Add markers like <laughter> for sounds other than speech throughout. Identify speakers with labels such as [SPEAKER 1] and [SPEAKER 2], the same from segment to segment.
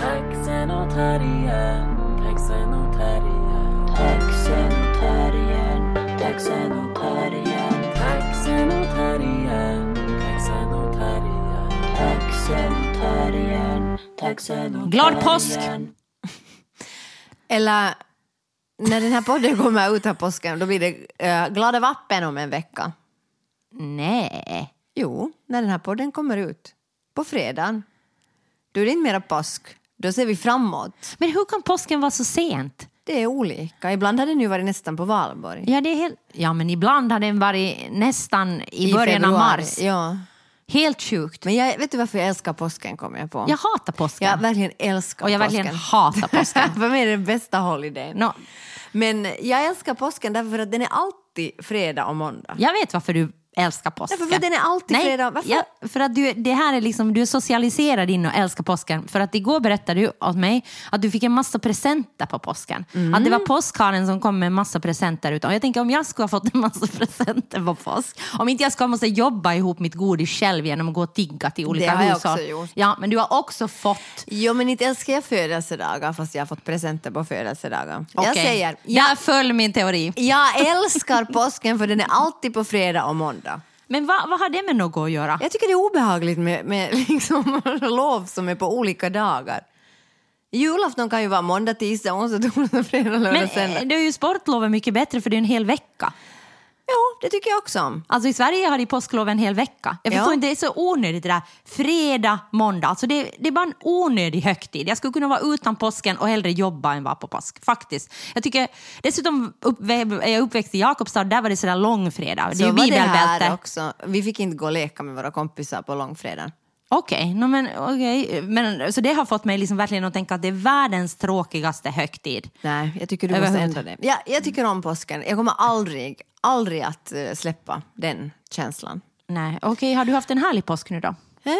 [SPEAKER 1] Taxen och terriern, taxen och terriern.
[SPEAKER 2] Taxen och terriern, taxen och terriern,
[SPEAKER 1] Taxen och terriern, taxen och terriern.
[SPEAKER 2] taxen och terriern, taxen och
[SPEAKER 3] Glad påsk!
[SPEAKER 2] terriern.
[SPEAKER 4] Eller när den här podden kommer ut här påsken, då blir det eh, Glada vappen om en vecka.
[SPEAKER 3] Nej.
[SPEAKER 4] Jo, när den här podden kommer ut. På fredagen. Då är det inte mera påsk. Då ser vi framåt.
[SPEAKER 3] Men hur kan påsken vara så sent?
[SPEAKER 4] Det är olika. Ibland har den ju varit nästan på valborg.
[SPEAKER 3] Ja, det är helt... ja men ibland har den varit nästan i, början av
[SPEAKER 4] februari.
[SPEAKER 3] mars.
[SPEAKER 4] Ja.
[SPEAKER 3] Helt sjukt.
[SPEAKER 4] Men jag, vet du varför jag älskar påsken kom jag på?
[SPEAKER 3] Jag hatar påsken.
[SPEAKER 4] Jag verkligen älskar
[SPEAKER 3] och jag
[SPEAKER 4] påsken.
[SPEAKER 3] verkligen hatar påsken.
[SPEAKER 4] <laughs> För mig är det den bästa holidayn.
[SPEAKER 3] Nå,
[SPEAKER 4] Men jag älskar påsken därför att den är alltid fredag och måndag.
[SPEAKER 3] jag vet varför du älskar påsken.
[SPEAKER 4] Därför att den är alltid
[SPEAKER 3] Nej,
[SPEAKER 4] fredag. Varför?
[SPEAKER 3] Ja, för att du, det här är liksom, du är socialiserad in och älskar påsken. För att igår berättade du åt mig att du fick en massa presenter på påsken. Att
[SPEAKER 4] Mm.
[SPEAKER 3] det var påskharen som kom med en massa presenter. Utan. Jag tänker om jag skulle ha fått en massa <laughs> presenter på påsk. Om inte jag skulle måste jobba ihop mitt godis själv genom att gå och tigga till olika
[SPEAKER 4] har jag
[SPEAKER 3] hushåll.
[SPEAKER 4] också gjort.
[SPEAKER 3] Ja, men du har också fått.
[SPEAKER 4] Jo, men inte älskar jag födelsedagar fast jag har fått presenter på födelsedagar. Jag
[SPEAKER 3] Okej.
[SPEAKER 4] säger,
[SPEAKER 3] Där föll min teori.
[SPEAKER 4] jag älskar påsken för den är alltid på fredag och måndag.
[SPEAKER 3] Men vad, vad har det med något att göra?
[SPEAKER 4] Jag tycker det är obehagligt med, med liksom <laughs> lov som är på olika dagar. Julafton kan ju vara måndag, tisdag, onsdag, torsdag, fredag,
[SPEAKER 3] Men
[SPEAKER 4] lördag, söndag.
[SPEAKER 3] eh, det är ju sportlovet mycket bättre för det är en hel vecka.
[SPEAKER 4] Jo, det tycker jag också om.
[SPEAKER 3] Alltså i Sverige har de påsklov en hel vecka. Jag
[SPEAKER 4] Ja.
[SPEAKER 3] förstår inte, det är så onödigt det där. Fredag, måndag. Alltså det, det är bara en onödig högtid. Jag skulle kunna vara utan påsken och hellre jobba än vara på påsk. Faktiskt. Jag tycker, dessutom upp, är jag uppväxt i Jakobstad, där var det sådär långfredag. Det är ju
[SPEAKER 4] var det här
[SPEAKER 3] bibelbälte.
[SPEAKER 4] också. Vi fick inte gå och leka med våra kompisar på långfredagen.
[SPEAKER 3] Okej, nå men, okej. men så det har fått mig liksom verkligen att tänka att det är världens tråkigaste högtid.
[SPEAKER 4] Nej, jag tycker du måste
[SPEAKER 3] Överhuvud-
[SPEAKER 4] ändra det. Ja, jag tycker om påsken. Jag kommer aldrig, aldrig att eh, släppa den känslan.
[SPEAKER 3] Nej, okej, har du haft en härlig påsk nu då?
[SPEAKER 4] Eh,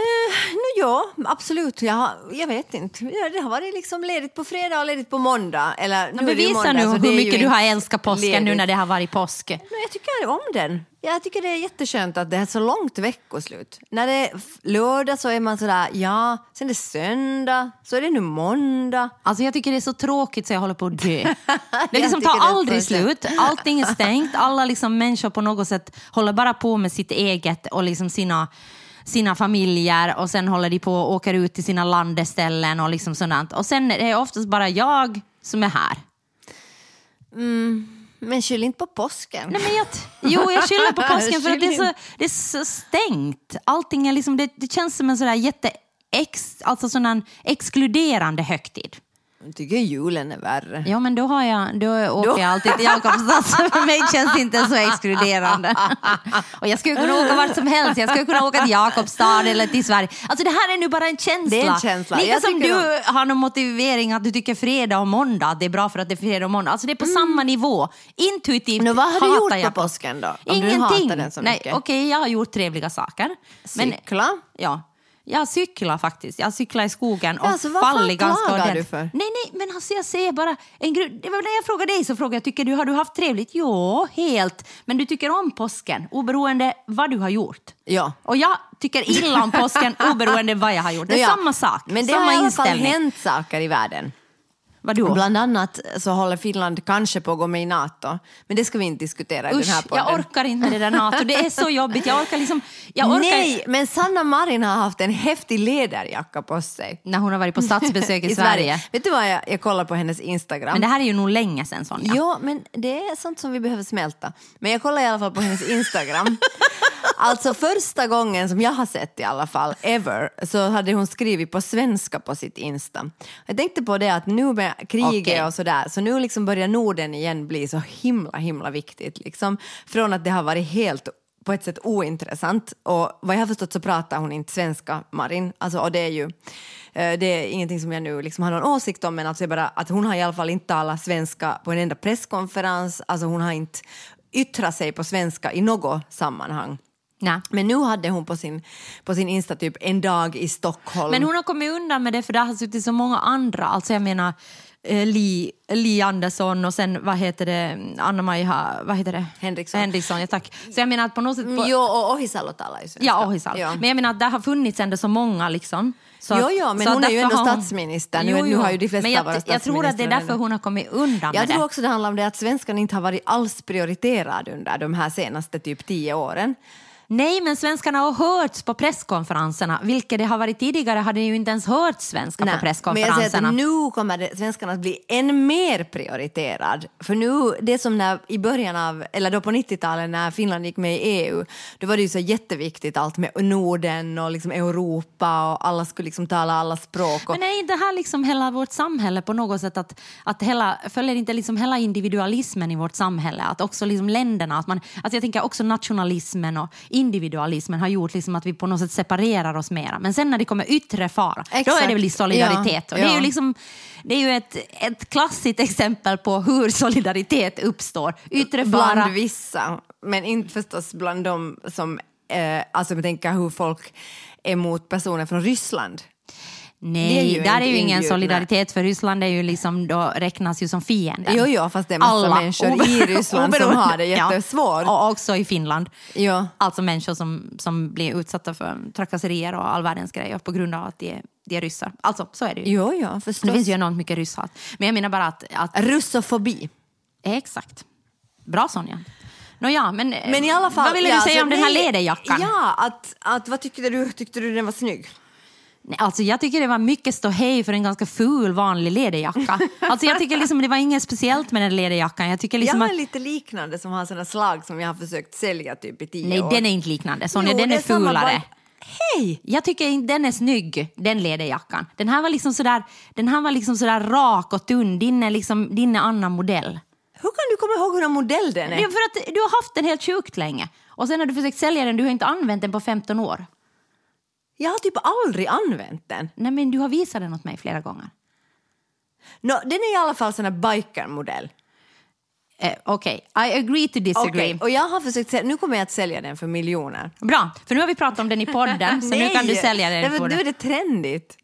[SPEAKER 4] nu ja, absolut. Jag, har- jag vet inte. Ja, Det har varit liksom ledigt på fredag och ledigt på måndag. Eller, nu är det ju
[SPEAKER 3] Bevisa
[SPEAKER 4] måndag,
[SPEAKER 3] nu
[SPEAKER 4] så det är
[SPEAKER 3] hur
[SPEAKER 4] ju
[SPEAKER 3] mycket du har
[SPEAKER 4] inte
[SPEAKER 3] älskat påsken nu
[SPEAKER 4] ledigt.
[SPEAKER 3] när det har varit påsk.
[SPEAKER 4] Men jag tycker om den. Jag tycker det är jätteskönt att det är så långt veckoslut. När det är f- lördag så är man sådär, ja, sen är det söndag, så är det nu måndag.
[SPEAKER 3] Alltså jag tycker det är så tråkigt så jag håller på
[SPEAKER 4] <laughs>
[SPEAKER 3] att dö. Det
[SPEAKER 4] Jag
[SPEAKER 3] liksom
[SPEAKER 4] tycker
[SPEAKER 3] tar
[SPEAKER 4] det är
[SPEAKER 3] aldrig
[SPEAKER 4] så skönt.
[SPEAKER 3] slut, allting är stängt, alla liksom människor på något sätt håller bara på med sitt eget och liksom sina, sina familjer och sen håller de på och åker ut till sina landeställen och liksom sådant. Och sen är det oftast bara jag som är här.
[SPEAKER 4] Men skyll inte på påsken.
[SPEAKER 3] Nej, men jag, jo, jag skyller på påsken för att det är,
[SPEAKER 4] Skyll
[SPEAKER 3] så, det är så stängt. Allting är liksom, det, det känns som en sådär jätte ex, alltså sån här exkluderande högtid.
[SPEAKER 4] Jag tycker julen är värre.
[SPEAKER 3] Ja, men då, har jag, då åker
[SPEAKER 4] Då-
[SPEAKER 3] jag alltid till Jakobstad, så för mig känns det inte så exkluderande. Och jag skulle kunna åka vart som helst, jag skulle kunna åka till Jakobstad eller till Sverige. Alltså det här är nu bara en känsla.
[SPEAKER 4] Det är en känsla.
[SPEAKER 3] Lika
[SPEAKER 4] Jag
[SPEAKER 3] som
[SPEAKER 4] tycker
[SPEAKER 3] du har någon motivering att du tycker fredag och måndag, att det är bra för att det är fredag och måndag. Alltså det är på samma nivå. Intuitivt
[SPEAKER 4] Nu, Mm. vad har du
[SPEAKER 3] hatar
[SPEAKER 4] gjort på
[SPEAKER 3] jag
[SPEAKER 4] påsken då? Om du
[SPEAKER 3] Ingenting.
[SPEAKER 4] hatar den så
[SPEAKER 3] Nej,
[SPEAKER 4] mycket.
[SPEAKER 3] okej, jag har gjort trevliga saker. Men,
[SPEAKER 4] Cykla?
[SPEAKER 3] ja. Jag cyklar faktiskt. Jag cyklar i skogen och
[SPEAKER 4] Alltså, vad fan
[SPEAKER 3] faller ganska
[SPEAKER 4] klagar
[SPEAKER 3] ordentligt.
[SPEAKER 4] du för?
[SPEAKER 3] Nej, nej, men alltså jag säger bara... En gru- det var när jag frågade dig så frågade jag, tycker du, har du haft trevligt? Ja, helt. Men du tycker om påsken, oberoende vad du har gjort.
[SPEAKER 4] Ja.
[SPEAKER 3] Och jag tycker illa om
[SPEAKER 4] <laughs>
[SPEAKER 3] påsken, oberoende vad jag har gjort. Det är
[SPEAKER 4] Ja,
[SPEAKER 3] samma sak,
[SPEAKER 4] Men det
[SPEAKER 3] samma
[SPEAKER 4] har i alla fall
[SPEAKER 3] inställning.
[SPEAKER 4] hänt saker i världen.
[SPEAKER 3] Vadå?
[SPEAKER 4] Bland annat så håller Finland kanske på att gå med i NATO. Men det ska vi inte diskutera i
[SPEAKER 3] Usch,
[SPEAKER 4] den här podden.
[SPEAKER 3] jag orkar inte med det där NATO. Det är så jobbigt. Jag orkar liksom... Jag orkar...
[SPEAKER 4] Nej, men Sanna Marin har haft en häftig läderjacka på sig.
[SPEAKER 3] När hon har varit på
[SPEAKER 4] <laughs>
[SPEAKER 3] statsbesök i, Sverige.
[SPEAKER 4] Vet du vad, jag, jag kollar på hennes Instagram.
[SPEAKER 3] Men det här är ju nog länge sedan Sonja.
[SPEAKER 4] Ja, men det är sånt som vi behöver smälta. Men jag kollar i alla fall på
[SPEAKER 3] <laughs>
[SPEAKER 4] hennes Instagram. alltså första gången som jag har sett i alla fall, ever, så hade hon skrivit på svenska på sitt Insta. Jag tänkte på det att nu med kriget
[SPEAKER 3] Okej.
[SPEAKER 4] och sådär, så nu liksom börjar Norden igen bli så himla, himla viktigt. Liksom. Från att det har varit helt på ett sätt ointressant. Och vad jag har förstått så pratar hon inte svenska, Marin. Alltså, och det är ju eh, det är ingenting som jag nu liksom har någon åsikt om men alltså jag bara att hon har i alla fall inte talat svenska på en enda presskonferens. Alltså hon har inte yttrat sig på svenska i något sammanhang.
[SPEAKER 3] Nej.
[SPEAKER 4] Men nu hade hon på sin, på sin Insta typ en dag i Stockholm.
[SPEAKER 3] Men hon har kommit undan med det för det har suttit så många andra. Alltså jag menar, eh, Li, Li Andersson och sen vad heter det, Anna-Maja, vad heter det?
[SPEAKER 4] Henriksson.
[SPEAKER 3] Henriksson, ja tack. Så jag menar att på något sätt... På,
[SPEAKER 4] Jo, och Ohisalo talar ju svenska.
[SPEAKER 3] Ja, Ohisalo.
[SPEAKER 4] Ja.
[SPEAKER 3] Men jag menar att det har funnits ändå så många liksom. Så
[SPEAKER 4] Jo,
[SPEAKER 3] att-
[SPEAKER 4] jo, men
[SPEAKER 3] så att
[SPEAKER 4] hon är ju
[SPEAKER 3] därför
[SPEAKER 4] ändå
[SPEAKER 3] har hon-
[SPEAKER 4] statsminister. Nu- nu har ju de flesta
[SPEAKER 3] men jag,
[SPEAKER 4] varit
[SPEAKER 3] jag tror att det är
[SPEAKER 4] statsministrar
[SPEAKER 3] därför hon har kommit undan med
[SPEAKER 4] Jag tror
[SPEAKER 3] det.
[SPEAKER 4] också det handlar om det att svenskan inte har varit alls prioriterad under de här senaste typ tio åren.
[SPEAKER 3] Nej, men svenskarna har hörts på presskonferenserna. Vilket det har varit tidigare hade ju inte ens hört svenska på
[SPEAKER 4] men jag säger
[SPEAKER 3] presskonferenserna.
[SPEAKER 4] att nu kommer det, svenskarna att bli än mer prioriterad. För nu, det är som när, i början av, eller då på 90-talet när Finland gick med i EU, då var det ju så jätteviktigt allt med Norden och liksom Europa och alla skulle liksom tala alla språk. Och,
[SPEAKER 3] Men är inte här liksom hela vårt samhälle på något sätt att, att hela, följer inte liksom hela individualismen i vårt samhälle? Att också liksom länderna, att man, alltså jag tänker också nationalismen och individualismen har gjort liksom att vi på något sätt separerar oss mera. Men sen när det kommer yttre fara, då
[SPEAKER 4] Exakt.
[SPEAKER 3] är det väl i solidaritet.
[SPEAKER 4] Ja,
[SPEAKER 3] och det är
[SPEAKER 4] ja.
[SPEAKER 3] ju, liksom, det är ju ett, ett klassiskt exempel på hur solidaritet uppstår. Yttre
[SPEAKER 4] bland
[SPEAKER 3] fara,
[SPEAKER 4] vissa, men inte förstås bland de som, eh, alltså jag tänker hur folk är mot personer från Ryssland. Det är
[SPEAKER 3] nej,
[SPEAKER 4] ju
[SPEAKER 3] där är
[SPEAKER 4] inte
[SPEAKER 3] ju ingen
[SPEAKER 4] inbjudna.
[SPEAKER 3] solidaritet för Ryssland är ju liksom, då räknas ju som fienden.
[SPEAKER 4] Jo, jo, fast det är massa människor i
[SPEAKER 3] obe-
[SPEAKER 4] Ryssland som har det
[SPEAKER 3] oberoende. <laughs> Ja.
[SPEAKER 4] jättesvårt.
[SPEAKER 3] Och också i Finland.
[SPEAKER 4] Ja.
[SPEAKER 3] Alltså människor som, som blir utsatta för trakasserier och all världens grejer på grund av att de är, de är ryssar. Alltså, så är det ju.
[SPEAKER 4] Jo, ja,
[SPEAKER 3] Det
[SPEAKER 4] förstås.
[SPEAKER 3] finns ju enormt mycket rysshat. Men jag menar bara att... att
[SPEAKER 4] Russofobi.
[SPEAKER 3] exakt. Bra Sonja. Nåja, men, eh,
[SPEAKER 4] Men i alla fall,
[SPEAKER 3] vad ville du
[SPEAKER 4] ja,
[SPEAKER 3] säga
[SPEAKER 4] så
[SPEAKER 3] om den här
[SPEAKER 4] nej-
[SPEAKER 3] läderjackan?
[SPEAKER 4] Ja, att, att, vad tyckte du? Tyckte du den var snygg?
[SPEAKER 3] Nej, Alltså jag tycker det var mycket ståhej för en ganska ful vanlig läderjacka. Alltså jag tycker liksom det var inget speciellt med den läderjackan. Jag tycker liksom
[SPEAKER 4] jag
[SPEAKER 3] att,
[SPEAKER 4] har lite liknande som har såna slag som jag har försökt sälja typ i tio
[SPEAKER 3] nej
[SPEAKER 4] år.
[SPEAKER 3] den är inte liknande Sonja,
[SPEAKER 4] Jo,
[SPEAKER 3] den
[SPEAKER 4] det
[SPEAKER 3] är,
[SPEAKER 4] är samma
[SPEAKER 3] fulare.
[SPEAKER 4] val- Hej!
[SPEAKER 3] Jag tycker inte den är snygg, den läderjackan. Den här var liksom sådär, den här var liksom sådär rak och tunn. Din är liksom, din är annan modell.
[SPEAKER 4] Hur kan du komma ihåg hur en modell den
[SPEAKER 3] Det är
[SPEAKER 4] är?
[SPEAKER 3] för att du har haft den helt sjukt länge. Och sen har du försökt sälja den, du har inte använt den på 15 år.
[SPEAKER 4] Jag har typ aldrig använt den.
[SPEAKER 3] Nej men du har visat den åt mig flera gånger.
[SPEAKER 4] No, den är i alla fall sån här bikermodell.
[SPEAKER 3] Eh, Okej, I agree to disagree.
[SPEAKER 4] Okej, Och jag har försökt sälja, nu kommer jag att sälja den för miljoner.
[SPEAKER 3] Bra, för nu har vi pratat om den i podden så nu kan du sälja den.
[SPEAKER 4] Nej,
[SPEAKER 3] på
[SPEAKER 4] men nu
[SPEAKER 3] den.
[SPEAKER 4] är det trendigt.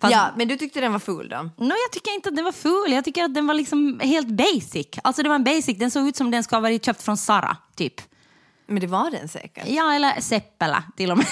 [SPEAKER 3] Fast-
[SPEAKER 4] Ja, men du tyckte den var ful då?
[SPEAKER 3] No, jag tycker inte att den var ful, jag tycker att den var liksom helt basic. Alltså det var en basic, den såg ut som den ska ha varit köpt från Zara, typ.
[SPEAKER 4] Men det var den säkert.
[SPEAKER 3] Ja, eller Seppälä till och med.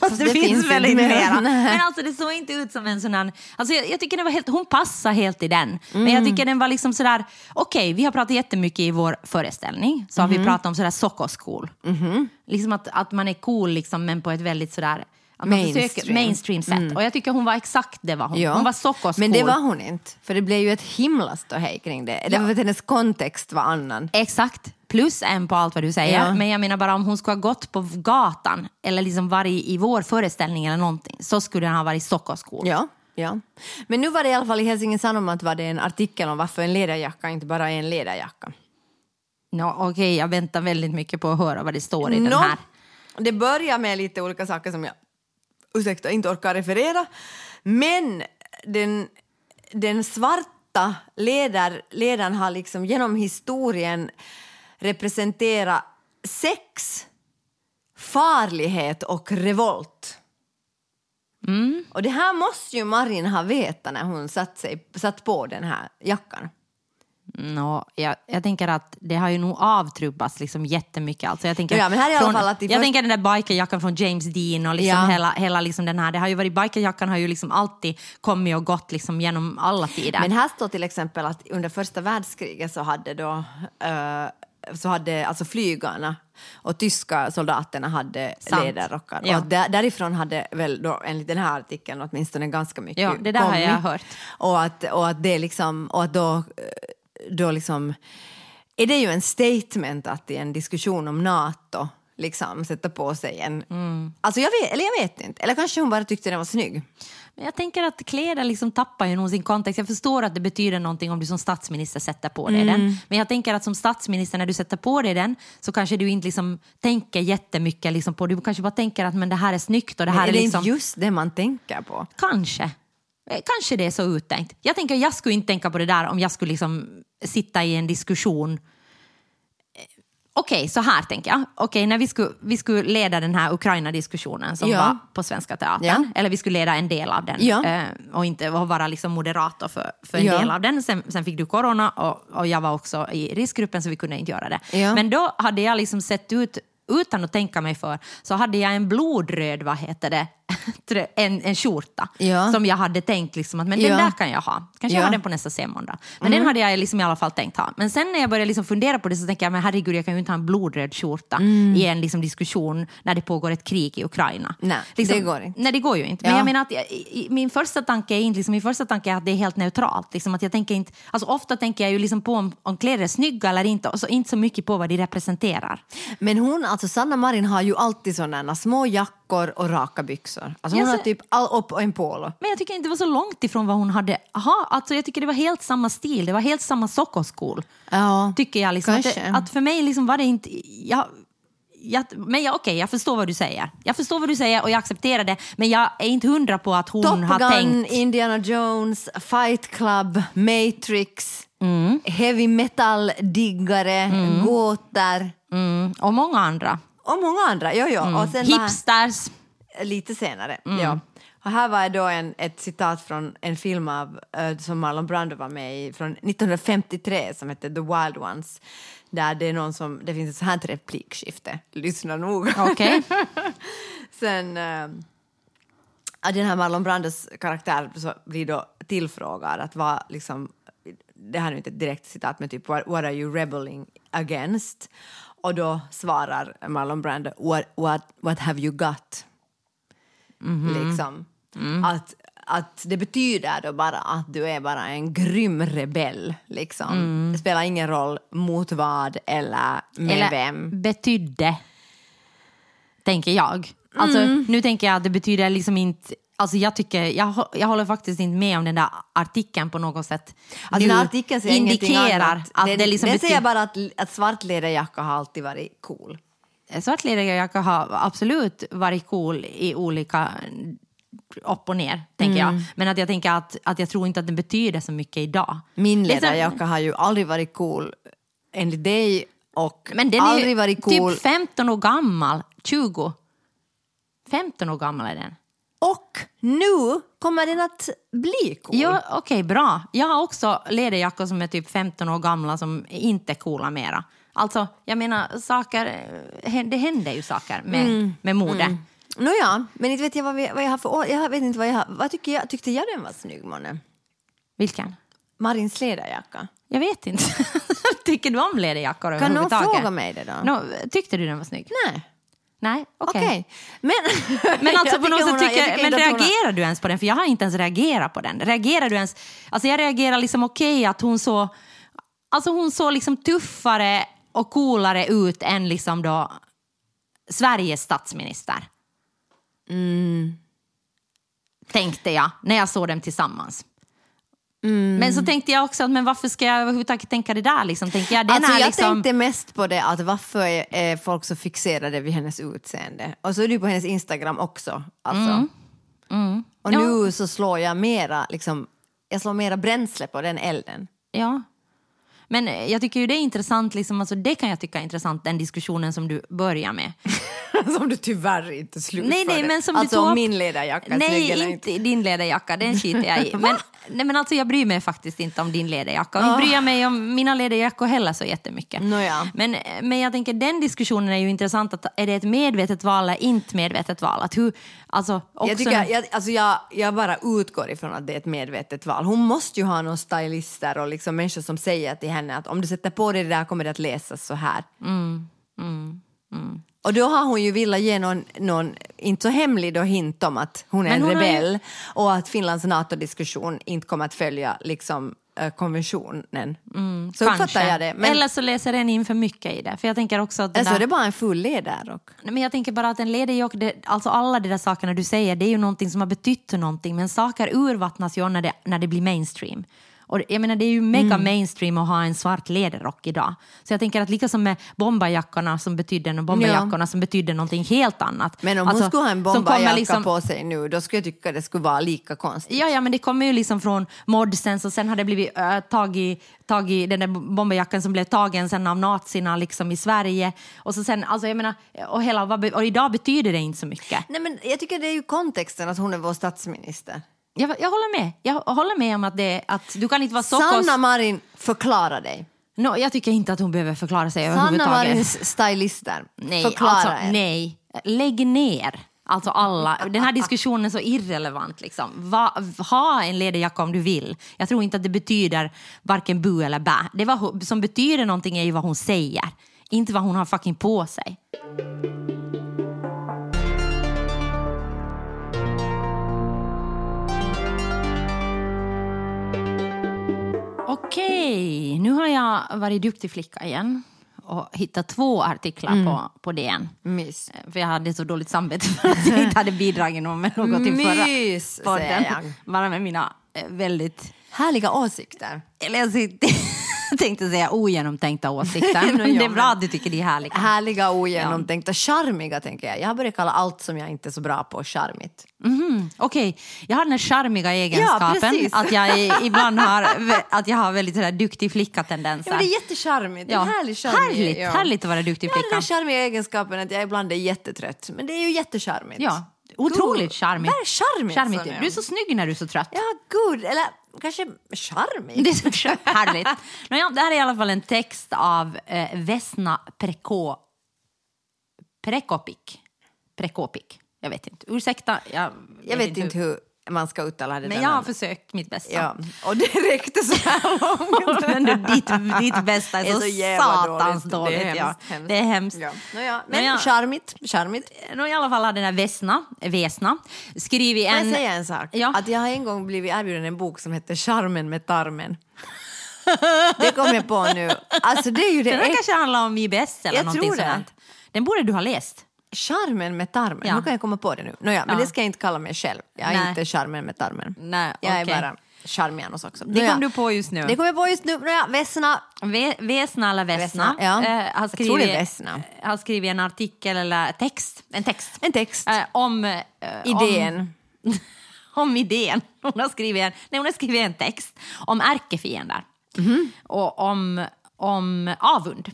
[SPEAKER 3] Fast det,
[SPEAKER 4] det
[SPEAKER 3] finns,
[SPEAKER 4] finns
[SPEAKER 3] väl
[SPEAKER 4] inte
[SPEAKER 3] inte
[SPEAKER 4] mer.
[SPEAKER 3] mera.
[SPEAKER 4] Nej.
[SPEAKER 3] Men alltså det såg inte ut som en sån här... Alltså jag, jag tycker den var helt, hon passar helt i den. Men
[SPEAKER 4] Mm.
[SPEAKER 3] jag tycker den var liksom sådär... Okej, vi har pratat jättemycket i vår föreställning. Så
[SPEAKER 4] Mm.
[SPEAKER 3] har vi pratat om sådär sockerskol.
[SPEAKER 4] Mm-hmm.
[SPEAKER 3] Liksom att, att man är cool liksom, men på ett väldigt sådär... Att Man försöker,
[SPEAKER 4] Mainstream. Mm.
[SPEAKER 3] mainstream sätt. Och jag tycker hon var exakt det var hon.
[SPEAKER 4] Ja.
[SPEAKER 3] Hon var sockerskol.
[SPEAKER 4] Men det var hon inte, för det blev ju ett himla ståhej kring det. Det var för att hennes kontext var annan.
[SPEAKER 3] Exakt. Plus en på allt vad du säger.
[SPEAKER 4] Ja.
[SPEAKER 3] Men jag menar bara om hon skulle ha gått på gatan eller liksom varit i vår föreställning eller någonting så skulle den ha varit Stockholmsskor.
[SPEAKER 4] Ja. Ja. Men nu var det i alla fall i Helsingin Sanomat var det en artikel om varför en ledarjacka inte bara är en ledarjacka.
[SPEAKER 3] Nå, Okej, jag väntar väldigt mycket på att höra vad det står i
[SPEAKER 4] Nå,
[SPEAKER 3] den här.
[SPEAKER 4] Det börjar med lite olika saker som jag ursäkta, inte orkar referera. Men den, den svarta ledar, ledaren har liksom genom historien representerat sex, farlighet och revolt.
[SPEAKER 3] Mm.
[SPEAKER 4] Och det här måste ju Marin ha vetat när hon satt, sig, satt på den här jackan.
[SPEAKER 3] Nå, jag, jag tänker att det har ju nog avtrubbats liksom jättemycket. Alltså jag tänker,
[SPEAKER 4] Ja, men här är i alla
[SPEAKER 3] från,
[SPEAKER 4] fall att i
[SPEAKER 3] jag
[SPEAKER 4] först-
[SPEAKER 3] tänker den där bikerjackan från James Dean och liksom
[SPEAKER 4] Ja.
[SPEAKER 3] hela, hela liksom den här. Det har ju varit, bikerjackan har ju liksom alltid kommit och gått liksom genom alla tider.
[SPEAKER 4] Men här står till exempel att under första världskriget så hade då eh, så hade alltså flygarna och tyska soldaterna hade
[SPEAKER 3] Sant.
[SPEAKER 4] läderrockar.
[SPEAKER 3] Ja.
[SPEAKER 4] Och där, därifrån hade väl då enligt den här artikeln åtminstone ganska mycket
[SPEAKER 3] Ja, det där har
[SPEAKER 4] kommit.
[SPEAKER 3] jag hört.
[SPEAKER 4] Och att, och att det liksom, och att då, eh, då liksom, är det ju en statement att i en diskussion om NATO liksom sätta på sig en,
[SPEAKER 3] Mm.
[SPEAKER 4] alltså jag vet, eller jag vet inte, eller kanske hon bara tyckte den var snygg.
[SPEAKER 3] Men jag tänker att kläder liksom tappar ju nog sin kontext. Jag förstår att det betyder någonting om du som statsminister sätter på dig den. Men jag tänker att som statsminister när du sätter på dig den så kanske du inte liksom tänker jättemycket liksom på Du kanske bara tänker att men det här är snyggt och det här
[SPEAKER 4] är
[SPEAKER 3] är,
[SPEAKER 4] det
[SPEAKER 3] liksom...
[SPEAKER 4] inte just det man tänker på?
[SPEAKER 3] Kanske. Eh, Kanske det är så uttänkt. Jag tänker jag skulle inte tänka på det där om jag skulle liksom sitta i en diskussion. Eh, Okej, så här tänker jag. Okej, när vi skulle, vi skulle leda den här Ukraina-diskussionen som
[SPEAKER 4] Ja.
[SPEAKER 3] var på Svenska Teatern,
[SPEAKER 4] Ja.
[SPEAKER 3] eller vi skulle leda en del av den
[SPEAKER 4] Ja.
[SPEAKER 3] eh, och inte och vara liksom moderator för, för en
[SPEAKER 4] Ja.
[SPEAKER 3] del av den. Sen, sen fick du corona och, och jag var också i riskgruppen så vi kunde inte göra det.
[SPEAKER 4] Ja.
[SPEAKER 3] Men då hade jag liksom sett ut, utan att tänka mig för, så hade jag en blodröd, vad heter det, <laughs> trö- en, en skjorta
[SPEAKER 4] Ja.
[SPEAKER 3] som jag hade tänkt liksom att men
[SPEAKER 4] Ja.
[SPEAKER 3] den där kan jag ha. Kanske jag
[SPEAKER 4] Ja. Mm.
[SPEAKER 3] har den på nästa C-måndag. Men den hade jag liksom i alla fall tänkt ha. Men sen när jag började liksom fundera på det så tänkte jag, men herregud jag kan ju inte ha en blodröd skjorta
[SPEAKER 4] Mm.
[SPEAKER 3] i en liksom diskussion när det pågår ett krig i Ukraina.
[SPEAKER 4] Nej,
[SPEAKER 3] liksom,
[SPEAKER 4] det går inte.
[SPEAKER 3] Nej, det går ju inte. Men
[SPEAKER 4] Ja.
[SPEAKER 3] jag menar att jag, i- i- min första tanke är inte, liksom, min första tanke är att det är helt neutralt. Liksom, att jag tänker inte, alltså, ofta tänker jag ju liksom på om, om kläder är snygga eller inte, och så inte så mycket på vad de representerar.
[SPEAKER 4] Men hon, alltså Sanna Marin har ju alltid sådana små jackor och raka byxor. Alltså hon
[SPEAKER 3] Ja, så-
[SPEAKER 4] har typ all, upp och en polo.
[SPEAKER 3] Men jag tycker inte det var så långt ifrån vad hon hade. Aha, alltså jag tycker det var helt samma stil, det var helt samma sockerskol.
[SPEAKER 4] Ja.
[SPEAKER 3] Tycker jag liksom att, det,
[SPEAKER 4] Kanske.
[SPEAKER 3] att för mig liksom var det inte... Jag, jag, men jag, okej, jag förstår vad du säger. Jag förstår vad du säger och jag accepterar det. Men jag är inte hundra på att hon
[SPEAKER 4] Top
[SPEAKER 3] har
[SPEAKER 4] Gun,
[SPEAKER 3] tänkt...
[SPEAKER 4] Indiana Jones, Fight Club, Matrix,
[SPEAKER 3] Mm.
[SPEAKER 4] heavy metal-diggare, gåtor
[SPEAKER 3] Mm, och många andra.
[SPEAKER 4] och många andra. Jo, jo. Och sen var-
[SPEAKER 3] Hipsters.
[SPEAKER 4] <laughs> lite senare. Ja. Och här var då en, ett citat från en film av, eh, som Marlon Brando var med i från 1953 som heter The Wild Ones. Där det, är någon som, det finns ett så här replikskifte. Lyssna noga.
[SPEAKER 3] Okej.
[SPEAKER 4] Sen... eh, att den här Marlon Brandos karaktär så blir då tillfrågad att vad liksom, det här är nu inte ett direkt citat men typ what, what are you rebelling against? Och då svarar Marlon Brando what, what, what have you got? Liksom. Att, att det betyder då bara att du är bara en grym rebell liksom. Det spelar ingen roll mot vad eller med
[SPEAKER 3] Eller
[SPEAKER 4] vem.
[SPEAKER 3] betydde, tänker jag. Alltså,
[SPEAKER 4] Mm.
[SPEAKER 3] Nu tänker jag att det betyder liksom inte... Alltså jag, tycker, jag, hå- jag håller faktiskt inte med om den där artikeln på något sätt.
[SPEAKER 4] Alltså
[SPEAKER 3] Nu
[SPEAKER 4] den här artikeln säger ingenting
[SPEAKER 3] indikerar
[SPEAKER 4] annat.
[SPEAKER 3] att
[SPEAKER 4] den,
[SPEAKER 3] det liksom
[SPEAKER 4] den
[SPEAKER 3] betyder-
[SPEAKER 4] säger bara att, att svart läderjacka har alltid varit cool.
[SPEAKER 3] svartlediga jacka har absolut varit cool i olika upp och ner, tänker
[SPEAKER 4] Mm.
[SPEAKER 3] jag. Men att jag tänker att, att jag tror inte att den betyder så mycket idag.
[SPEAKER 4] Min
[SPEAKER 3] Liksom-
[SPEAKER 4] läderjacka har ju aldrig varit cool enligt dig och
[SPEAKER 3] Men den är
[SPEAKER 4] aldrig
[SPEAKER 3] ju
[SPEAKER 4] varit cool.
[SPEAKER 3] typ 15 år gammal, 20. 15 år gammal är den.
[SPEAKER 4] och nu kommer den att bli cool.
[SPEAKER 3] Ja, Okej, bra. Jag har också läderjackor som är typ 15 år gamla som inte är coola mera. Alltså, jag menar, saker, eh, det händer ju saker med,
[SPEAKER 4] Mm.
[SPEAKER 3] med mode.
[SPEAKER 4] Nåja, men inte vet jag vad, vi, vad jag har för år. Jag vet inte vad jag har. Vad tycker jag, tyckte jag den var snygg, månne?
[SPEAKER 3] Vilken?
[SPEAKER 4] Marins läderjacka.
[SPEAKER 3] Jag vet inte. <laughs> Tycker du om läderjackor
[SPEAKER 4] Kan någon
[SPEAKER 3] överhuvudtaget?
[SPEAKER 4] fråga mig det då?
[SPEAKER 3] Nå, tyckte du den var snygg?
[SPEAKER 4] Nej.
[SPEAKER 3] Nej, okej.
[SPEAKER 4] Okej. Men,
[SPEAKER 3] Men alltså
[SPEAKER 4] <laughs> Jag
[SPEAKER 3] på något sätt
[SPEAKER 4] tycker hon har- jag
[SPEAKER 3] tycker,
[SPEAKER 4] tycker
[SPEAKER 3] men
[SPEAKER 4] inte att hon har-
[SPEAKER 3] reagerar du ens på den? För jag har inte ens reagerat på den. Reagerar du ens? Alltså jag reagerar liksom okej att hon så, alltså hon såg liksom tuffare och coolare ut än liksom då Sveriges statsminister.
[SPEAKER 4] Mm.
[SPEAKER 3] Tänkte jag när jag såg dem tillsammans.
[SPEAKER 4] Mm.
[SPEAKER 3] Men så tänkte jag också att men varför ska jag överhuvudtaget tänka det där liksom? Tänker jag, den
[SPEAKER 4] alltså,
[SPEAKER 3] är
[SPEAKER 4] jag
[SPEAKER 3] liksom...
[SPEAKER 4] tänkte mest på det att varför är, är folk så fixerade vid hennes utseende? Och så är du på hennes Instagram också. Alltså. Och
[SPEAKER 3] Mm. Ja.
[SPEAKER 4] nu så slår jag mera, liksom, jag slår mera bränsle på den elden.
[SPEAKER 3] Ja. Men eh, jag tycker ju det är intressant, liksom, alltså, det kan jag tycka är intressant, den diskussionen som du börjar med.
[SPEAKER 4] <laughs> som du tyvärr inte slutförde.
[SPEAKER 3] Nej, nej, men som
[SPEAKER 4] alltså
[SPEAKER 3] du tog
[SPEAKER 4] om
[SPEAKER 3] upp-
[SPEAKER 4] min ledarjacka är snygg
[SPEAKER 3] Nej,
[SPEAKER 4] eller
[SPEAKER 3] inte din läderjacka, den skiter jag
[SPEAKER 4] <laughs>
[SPEAKER 3] i. Men, nej, men alltså jag bryr mig faktiskt inte om din läderjacka. Och inte bryr jag mig om mina läderjackor heller så jättemycket.
[SPEAKER 4] Ah. Nåja.
[SPEAKER 3] Men, men jag tänker den diskussionen är ju intressant, att är det ett medvetet val eller inte medvetet val? Att hur, alltså, också,
[SPEAKER 4] Jag, tycker, jag, alltså jag, jag bara utgår ifrån att det är ett medvetet val. Hon måste ju ha någon stylister och liksom människor som säger till henne att om du sätter på dig det där kommer det att läsas så här.
[SPEAKER 3] Mm,
[SPEAKER 4] Och då har hon ju velat ge någon, någon, inte så hemlig då, hint om att hon är
[SPEAKER 3] Men
[SPEAKER 4] en
[SPEAKER 3] hon har ju-
[SPEAKER 4] rebell och att Finlands NATO-diskussion inte kommer att följa liksom, eh, konventionen. så uppfattar
[SPEAKER 3] Mm, kanske.
[SPEAKER 4] jag det. Men,
[SPEAKER 3] Eller så läser den in för mycket i det. För jag tänker också att den
[SPEAKER 4] eller så
[SPEAKER 3] där-
[SPEAKER 4] är det bara en full ledarrock.
[SPEAKER 3] Nej, Men jag tänker bara att en lederjock, det, alltså alla de där sakerna du säger, det är ju någonting som har betytt någonting. Men saker urvattnas ju när det, när det blir mainstream. Och jag menar, det är ju mega
[SPEAKER 4] Mm.
[SPEAKER 3] mainstream att ha en svart läderrock idag. Så jag tänker att lika som med bombarjackorna som betydde, bombarjackorna som betydde någonting helt annat.
[SPEAKER 4] Men om
[SPEAKER 3] Alltså,
[SPEAKER 4] hon skulle ha en
[SPEAKER 3] som kommer
[SPEAKER 4] bombarjacka
[SPEAKER 3] liksom-
[SPEAKER 4] på sig nu, då skulle jag tycka det skulle vara lika konstigt.
[SPEAKER 3] Ja, ja, men det kommer ju liksom från modsen och sen har det blivit äh, tag, i, tag i den där bomberjackan som blev tagen sen av nazierna liksom i Sverige. Och, så sen, alltså, jag menar, och, hela, vad be- och idag betyder det inte så mycket.
[SPEAKER 4] Nej, men jag tycker det är ju kontexten att hon är vår statsminister.
[SPEAKER 3] Jag, jag håller med. Jag håller med om att, det, att du kan inte vara så kost...
[SPEAKER 4] Sanna Marin, förklara dig.
[SPEAKER 3] No, jag tycker inte att hon behöver förklara sig
[SPEAKER 4] Sanna
[SPEAKER 3] överhuvudtaget.
[SPEAKER 4] Marins stylister,
[SPEAKER 3] Nej,
[SPEAKER 4] förklara
[SPEAKER 3] alltså,
[SPEAKER 4] er.
[SPEAKER 3] nej. Lägg ner. Alltså alla, den här diskussionen är så irrelevant. Liksom. Va, ha en läderjacka om du vill. Jag tror inte att det betyder varken bu eller bä. Det var, hu- som betyder någonting är ju vad hon säger, inte vad hon har fucking på sig. Okej, nu har jag varit duktig flicka igen och hittat två artiklar på, på DN.
[SPEAKER 4] Mys.
[SPEAKER 3] Eh, För jag hade så dåligt samvete för att jag inte hade bidragit någon med något till förra
[SPEAKER 4] Mys,
[SPEAKER 3] podden.
[SPEAKER 4] säger jag.
[SPEAKER 3] Bara med mina eh, väldigt,
[SPEAKER 4] Härliga åsikter.
[SPEAKER 3] eller jag sitter- <laughs> tänkte säga ogenomtänkta åsikter. Men
[SPEAKER 4] Nå, <laughs> ja,
[SPEAKER 3] det är bra
[SPEAKER 4] men-
[SPEAKER 3] att du tycker det är härligt.
[SPEAKER 4] Härliga, ogenomtänkta, charmiga tänker jag. Jag har börjat kalla allt som jag inte är så bra på charmigt.
[SPEAKER 3] Mhm, Okej, jag har den här charmiga egenskapen
[SPEAKER 4] precis.
[SPEAKER 3] att jag i- ibland har, att jag har väldigt sådär duktig flicka-tendenser.
[SPEAKER 4] Ja, men det är jättecharmigt. Det är
[SPEAKER 3] Ja.
[SPEAKER 4] härlig, charmig,
[SPEAKER 3] Härligt,
[SPEAKER 4] ja.
[SPEAKER 3] härligt att vara duktig
[SPEAKER 4] Jag har den här
[SPEAKER 3] flicka.
[SPEAKER 4] charmiga egenskapen att jag ibland är jättetrött. Men det är ju jättecharmigt.
[SPEAKER 3] Ja, otroligt
[SPEAKER 4] Gud,
[SPEAKER 3] charmigt.
[SPEAKER 4] vad är charmigt,
[SPEAKER 3] charmigt.
[SPEAKER 4] Sonja?
[SPEAKER 3] Du är så snygg när du är så trött.
[SPEAKER 4] Ja, gud. Eller kanske
[SPEAKER 3] <laughs>
[SPEAKER 4] charmig.
[SPEAKER 3] Det är så skönt. härligt. Nåja, det här är i alla fall en text av eh, Vesna Preko... Prekopik. Prekopik. Jag vet inte. Ursäkta. Jag,
[SPEAKER 4] Jag vet inte hur man ska uttala det.
[SPEAKER 3] Men
[SPEAKER 4] där
[SPEAKER 3] jag har
[SPEAKER 4] namnet.
[SPEAKER 3] försökt mitt bästa.
[SPEAKER 4] ja. Och det räckte så här
[SPEAKER 3] <laughs>
[SPEAKER 4] långt.
[SPEAKER 3] Men du, ditt, ditt bästa är,
[SPEAKER 4] Det är
[SPEAKER 3] så,
[SPEAKER 4] så jävla
[SPEAKER 3] satans
[SPEAKER 4] dåligt.
[SPEAKER 3] dåligt.
[SPEAKER 4] Det är
[SPEAKER 3] ja.
[SPEAKER 4] hemskt, hemskt.
[SPEAKER 3] Det är hemskt.
[SPEAKER 4] Ja. Nåja, men
[SPEAKER 3] Nåja.
[SPEAKER 4] charmigt. charmigt.
[SPEAKER 3] Nå, I alla fall har den här Vesna, Vesna skrivit
[SPEAKER 4] Får jag
[SPEAKER 3] en...
[SPEAKER 4] säga en sak?
[SPEAKER 3] Ja.
[SPEAKER 4] Att jag har en gång blivit erbjuden en bok som heter Charmen med tarmen. Det kom jag på nu. Alltså det är ju det
[SPEAKER 3] Den här
[SPEAKER 4] äk-
[SPEAKER 3] kanske handlar om IBS eller
[SPEAKER 4] Jag
[SPEAKER 3] någonting
[SPEAKER 4] tror det.
[SPEAKER 3] sådant. Den borde du ha läst.
[SPEAKER 4] Eh, Charmen med tarmen.
[SPEAKER 3] Ja.
[SPEAKER 4] Nu kan jag komma på det nu. Nåja, men
[SPEAKER 3] Ja.
[SPEAKER 4] det ska jag inte kalla mig själv. Jag är
[SPEAKER 3] Nej.
[SPEAKER 4] inte charmen med tarmen.
[SPEAKER 3] Nej,
[SPEAKER 4] jag
[SPEAKER 3] okej.
[SPEAKER 4] är bara charmianos också.
[SPEAKER 3] Det kom du på just nu.
[SPEAKER 4] Det kom jag på just nu. Nåja, Vesna.
[SPEAKER 3] Ve- Vesna eller Vesna,
[SPEAKER 4] Vesna, ja.
[SPEAKER 3] eh, har,
[SPEAKER 4] Jag tror det är
[SPEAKER 3] skrivit,
[SPEAKER 4] Vesna.
[SPEAKER 3] eh, har skrivit en artikel eller text, en text
[SPEAKER 4] En text.
[SPEAKER 3] eh, om, eh,
[SPEAKER 4] Idén.
[SPEAKER 3] Om, om idén. <laughs> Hon har, skrivit en, nej, hon har skrivit en text om ärkefiender
[SPEAKER 4] Mhm.
[SPEAKER 3] och om, om avund.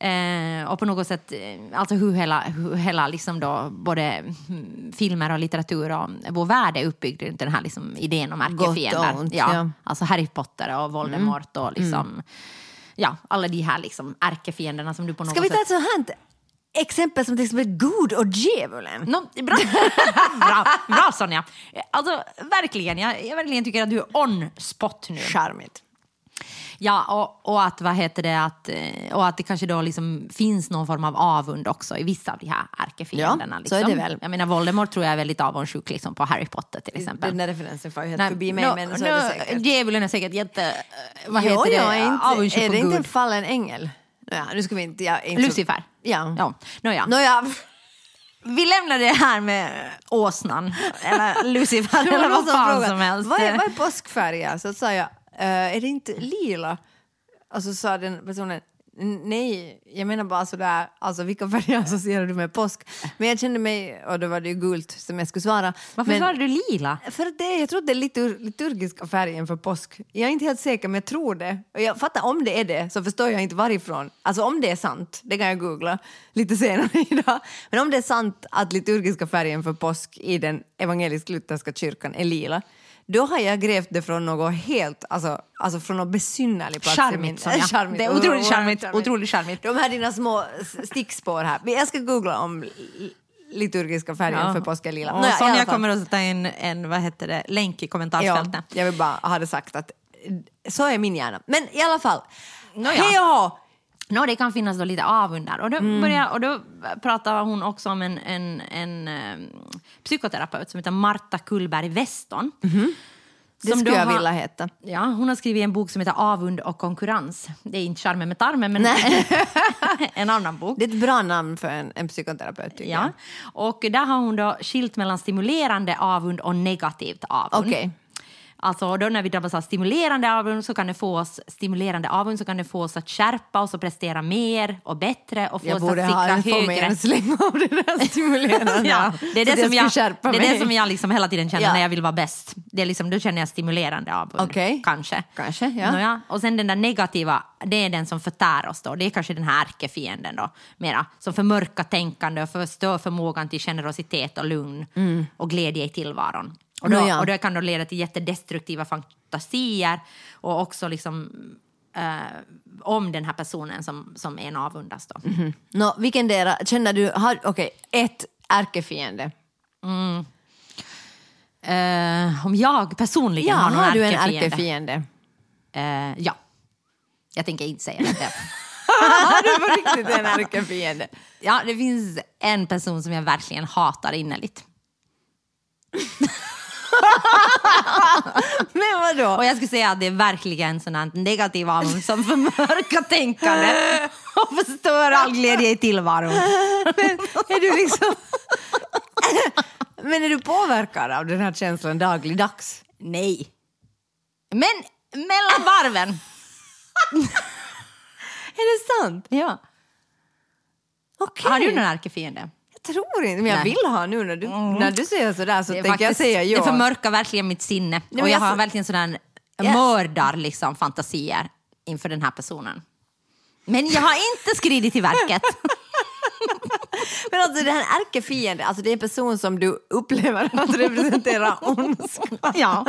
[SPEAKER 3] Eh, och på något sätt, eh, alltså hur hela, hur hela liksom då, både mm, filmer och litteratur och vår värld är uppbyggd runt den här liksom, idén om
[SPEAKER 4] Gott och
[SPEAKER 3] ärkefiender.
[SPEAKER 4] ont, ja. Mm.
[SPEAKER 3] Alltså Harry Potter och Voldemort och liksom, ja, alla de här liksom ärkefienderna som du på något
[SPEAKER 4] Ska vi
[SPEAKER 3] sätt...
[SPEAKER 4] ta ett sånt här exempel som till exempel Gud och djävulen?
[SPEAKER 3] Nå, <laughs> bra. bra, bra Sonja. Alltså verkligen, jag, jag verkligen tycker att du är on spot nu.
[SPEAKER 4] Charmigt.
[SPEAKER 3] Ja, och, och att vad heter det, att, eh, och att det kanske då liksom finns någon form av avund också i vissa av de här ärkefienderna.
[SPEAKER 4] Ja, så
[SPEAKER 3] liksom.
[SPEAKER 4] är det väl.
[SPEAKER 3] Jag menar Voldemort tror jag är väldigt avundsjuk liksom, på Harry Potter till exempel.
[SPEAKER 4] Den där referensen får ju helt
[SPEAKER 3] Nej,
[SPEAKER 4] förbi mig,
[SPEAKER 3] nå-
[SPEAKER 4] men så är det
[SPEAKER 3] nå,
[SPEAKER 4] säkert.
[SPEAKER 3] Djävulen är säkert jätte... eh, Vad heter
[SPEAKER 4] jo,
[SPEAKER 3] det?
[SPEAKER 4] jag är inte,
[SPEAKER 3] avundsjuk
[SPEAKER 4] Är
[SPEAKER 3] på
[SPEAKER 4] det inte
[SPEAKER 3] Gud.
[SPEAKER 4] en fallen ängel? Nåja, nu ska vi inte... Jag är inte så-
[SPEAKER 3] Lucifer.
[SPEAKER 4] Ja.
[SPEAKER 3] ja. Nåja. <laughs>
[SPEAKER 4] Nåja,
[SPEAKER 3] Vi lämnar det här med åsnan, eller
[SPEAKER 4] <laughs>
[SPEAKER 3] Lucifer,
[SPEAKER 4] det var
[SPEAKER 3] eller
[SPEAKER 4] någon
[SPEAKER 3] vad fan
[SPEAKER 4] frågade,
[SPEAKER 3] som helst.
[SPEAKER 4] Vad är, vad är påskfärger? Så sa jag, "Eh, är det inte lila? Och så sa den personen, "N- nej, jag menar bara sådär, alltså vilka färger associerar du med påsk? Men jag kände mig, och då var det ju gult som jag skulle svara.
[SPEAKER 3] Varför
[SPEAKER 4] men,
[SPEAKER 3] svarar du lila?
[SPEAKER 4] För att det, jag tror att det är litur, liturgiska färgen för påsk. Jag är inte helt säker, men jag tror det. Och jag fattar, om det är det så förstår jag inte varifrån. Alltså om det är sant, det kan jag googla lite senare <laughs> idag. Men om det är sant att liturgiska färgen för påsk i den evangelisk-lutherska kyrkan är lila, då har jag grävt det från något helt, alltså, alltså från något besynnerlig plats. i min-
[SPEAKER 3] Charmigt, Sonja.
[SPEAKER 4] <laughs> Charmigt.
[SPEAKER 3] Det är otroligt charmigt. Otroligt charmigt.
[SPEAKER 4] De här dina små s- stickspår här. Men Jag ska googla om li- liturgiska färgen för påsk är lila.
[SPEAKER 3] Och
[SPEAKER 4] Nåja, i alla
[SPEAKER 3] Sonja
[SPEAKER 4] fall.
[SPEAKER 3] kommer att sätta in en vad heter det, länk i
[SPEAKER 4] Ja,
[SPEAKER 3] kommentarsfältet.
[SPEAKER 4] jag vill bara ha det sagt att eh, så är min hjärna. Men i alla fall,
[SPEAKER 3] Nåja.
[SPEAKER 4] hej och hå!
[SPEAKER 3] Nå, det kan finnas då lite avund där. Och då, börjar, och då pratar hon också om en, en, en eh, psykoterapeut som heter Marta Kullberg Weston.
[SPEAKER 4] Det
[SPEAKER 3] Som
[SPEAKER 4] skulle
[SPEAKER 3] då
[SPEAKER 4] jag
[SPEAKER 3] har-
[SPEAKER 4] vilja heta.
[SPEAKER 3] Ja, hon har skrivit en bok som heter Avund och konkurrens. Det är inte charmen med tarmen, men <laughs> en annan bok.
[SPEAKER 4] Det är ett bra namn för en, en psykoterapeut. tycker
[SPEAKER 3] Ja. Och där har hon då skilt mellan stimulerande avund och negativt avund.
[SPEAKER 4] Okej.
[SPEAKER 3] Alltså, och då när vi drabbas av stimulerande avund så kan det få oss stimulerande avund så kan det få oss att skärpa oss och prestera mer och bättre och få
[SPEAKER 4] Jag
[SPEAKER 3] oss
[SPEAKER 4] borde ha
[SPEAKER 3] att
[SPEAKER 4] en
[SPEAKER 3] sikta
[SPEAKER 4] få mig
[SPEAKER 3] högre.
[SPEAKER 4] en släng av det
[SPEAKER 3] <laughs>
[SPEAKER 4] där stimulerande.
[SPEAKER 3] Ja, det är
[SPEAKER 4] Så
[SPEAKER 3] det,
[SPEAKER 4] att
[SPEAKER 3] som jag,
[SPEAKER 4] ska skärpa
[SPEAKER 3] det, är det
[SPEAKER 4] mig.
[SPEAKER 3] som jag liksom hela tiden känner
[SPEAKER 4] Ja.
[SPEAKER 3] när jag vill vara bäst. Det är liksom, då känner jag stimulerande avund,
[SPEAKER 4] Okej.
[SPEAKER 3] kanske.
[SPEAKER 4] Kanske, ja.
[SPEAKER 3] Nåja. Och sen den där negativa, det är den som förtär oss då. Det är kanske den här ärkefienden då, mera. Som förmörkar tänkande och förstör förmågan till generositet och lugn
[SPEAKER 4] Mm.
[SPEAKER 3] och glädje i tillvaron. Och, då,
[SPEAKER 4] Nåja.
[SPEAKER 3] och det kan då leda till jättedestruktiva fantasier och också liksom eh, om den här personen som, som en avundas då.
[SPEAKER 4] Nå, vilken dera, känner du, har, okej, ett ärkefiende.
[SPEAKER 3] Eh, om jag personligen
[SPEAKER 4] Ja,
[SPEAKER 3] har någon
[SPEAKER 4] har du en
[SPEAKER 3] ärkefiende?
[SPEAKER 4] ärkefiende? <laughs>
[SPEAKER 3] Eh, ja. Jag tänker inte säga <laughs> det.
[SPEAKER 4] Har du på riktigt en ärkefiende?
[SPEAKER 3] Ja, det finns en person som jag verkligen hatar innerligt.
[SPEAKER 4] Men vadå?
[SPEAKER 3] <laughs> Och jag skulle säga att det är verkligen sån här negativ avund som förmörkar tänkande och förstör all glädje i tillvaron. <laughs>
[SPEAKER 4] Är du liksom... Men är du påverkad av den här känslan dagligdags?
[SPEAKER 3] Nej. Men mellan varven.
[SPEAKER 4] Är det sant?
[SPEAKER 3] <laughs> Ja.
[SPEAKER 4] Okej.
[SPEAKER 3] Har du någon ärkefiende?
[SPEAKER 4] Jag tror inte, men jag
[SPEAKER 3] Nej. Mm.
[SPEAKER 4] vill ha nu när du, när du säger sådär så
[SPEAKER 3] Det är
[SPEAKER 4] tänker jag
[SPEAKER 3] faktiskt-
[SPEAKER 4] säga ja.
[SPEAKER 3] Det förmörkar verkligen mitt sinne.
[SPEAKER 4] men
[SPEAKER 3] och jag
[SPEAKER 4] alltså-
[SPEAKER 3] har verkligen sådana
[SPEAKER 4] Ja.
[SPEAKER 3] mördar liksom, fantasier inför den här personen. Men jag har inte skridit till <laughs> verket.
[SPEAKER 4] Men alltså den här ärkefienden, alltså det är en person som du upplever
[SPEAKER 3] <laughs>
[SPEAKER 4] att representera ondska.
[SPEAKER 3] ja.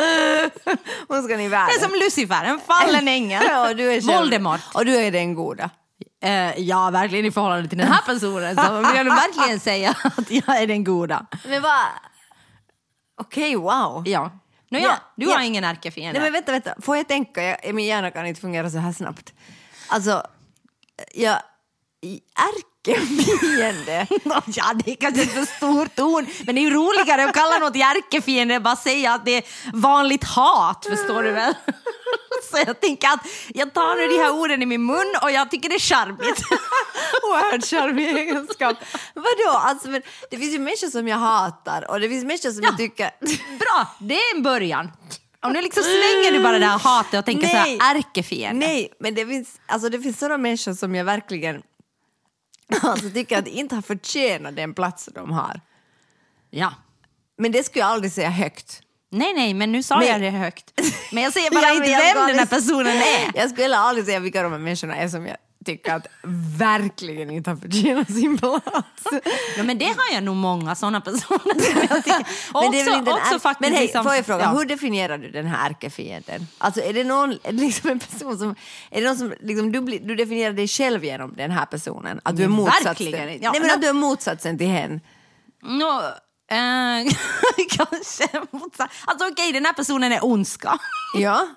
[SPEAKER 4] Ondskan i
[SPEAKER 3] Det
[SPEAKER 4] världen.
[SPEAKER 3] är som Lucifer, en fallen ängel.
[SPEAKER 4] Ja, och du är själv-
[SPEAKER 3] Voldemort.
[SPEAKER 4] Och du är den goda.
[SPEAKER 3] Eh, ja, verkligen i förhållande till den här <laughs> personen så vill jag nog verkligen säga att jag är den goda.
[SPEAKER 4] Men vad... Okej, wow.
[SPEAKER 3] Ja. Nåja,
[SPEAKER 4] Ja,
[SPEAKER 3] du
[SPEAKER 4] ja.
[SPEAKER 3] har ingen ärkefiende.
[SPEAKER 4] Nej men vänta, vänta. Får jag tänka? Jag, min hjärna kan inte fungera så här snabbt. Alltså, jag... i- Ärkefiende?
[SPEAKER 3] <laughs> Ja, det är kanske ett för stort ord, men det är ju roligare att kalla något ärkefiende än bara säga att det är vanligt hat, förstår du väl? <laughs> Så jag tänker att jag tar nu de här orden i min mun och jag tycker det är
[SPEAKER 4] <laughs>
[SPEAKER 3] charmigt.
[SPEAKER 4] Oerhört charmig egenskap. Vadå? Alltså, men, det finns ju människor som jag hatar och det finns människor som jag tycker... <laughs>
[SPEAKER 3] Bra, det är en början. Om du liksom slänger du bara det här hatet och tänker så
[SPEAKER 4] Nej.
[SPEAKER 3] här ärkefiende.
[SPEAKER 4] Nej, men det finns, alltså, det finns sådana människor som jag verkligen <laughs> alltså, tycker att inte har förtjänat den plats de har.
[SPEAKER 3] Ja.
[SPEAKER 4] Men det skulle jag aldrig säga högt.
[SPEAKER 3] Nej, nej, men nu sa
[SPEAKER 4] Nej.
[SPEAKER 3] jag det högt. Men jag säger bara
[SPEAKER 4] <laughs> Jag
[SPEAKER 3] inte vem
[SPEAKER 4] vet vad
[SPEAKER 3] den
[SPEAKER 4] det-
[SPEAKER 3] här personen är.
[SPEAKER 4] <laughs> Jag skulle heller aldrig säga vilka de här människorna är som jag tycker att verkligen inte har förtjänat sin plats.
[SPEAKER 3] Ja, men det har jag nog många sådana personer som jag tycker. Och
[SPEAKER 4] <laughs> Men det är väl
[SPEAKER 3] också,
[SPEAKER 4] inte en
[SPEAKER 3] också
[SPEAKER 4] ärk-
[SPEAKER 3] faktiskt
[SPEAKER 4] Men hej,
[SPEAKER 3] liksom,
[SPEAKER 4] får jag fråga,
[SPEAKER 3] Ja.
[SPEAKER 4] hur definierar du den här ärkefienden? Alltså är det någon, <laughs> liksom en person som, är det någon som liksom, du, blir- du definierar dig själv genom den här personen? Att du är
[SPEAKER 3] Men
[SPEAKER 4] motsatsen?
[SPEAKER 3] Mm, verkligen inte. Ja,
[SPEAKER 4] Nej men
[SPEAKER 3] no.
[SPEAKER 4] att du är motsatsen till henne.
[SPEAKER 3] Nå, eh, <laughs> kanske motsatt. Alltså okej, den här personen är ondska.
[SPEAKER 4] Ja,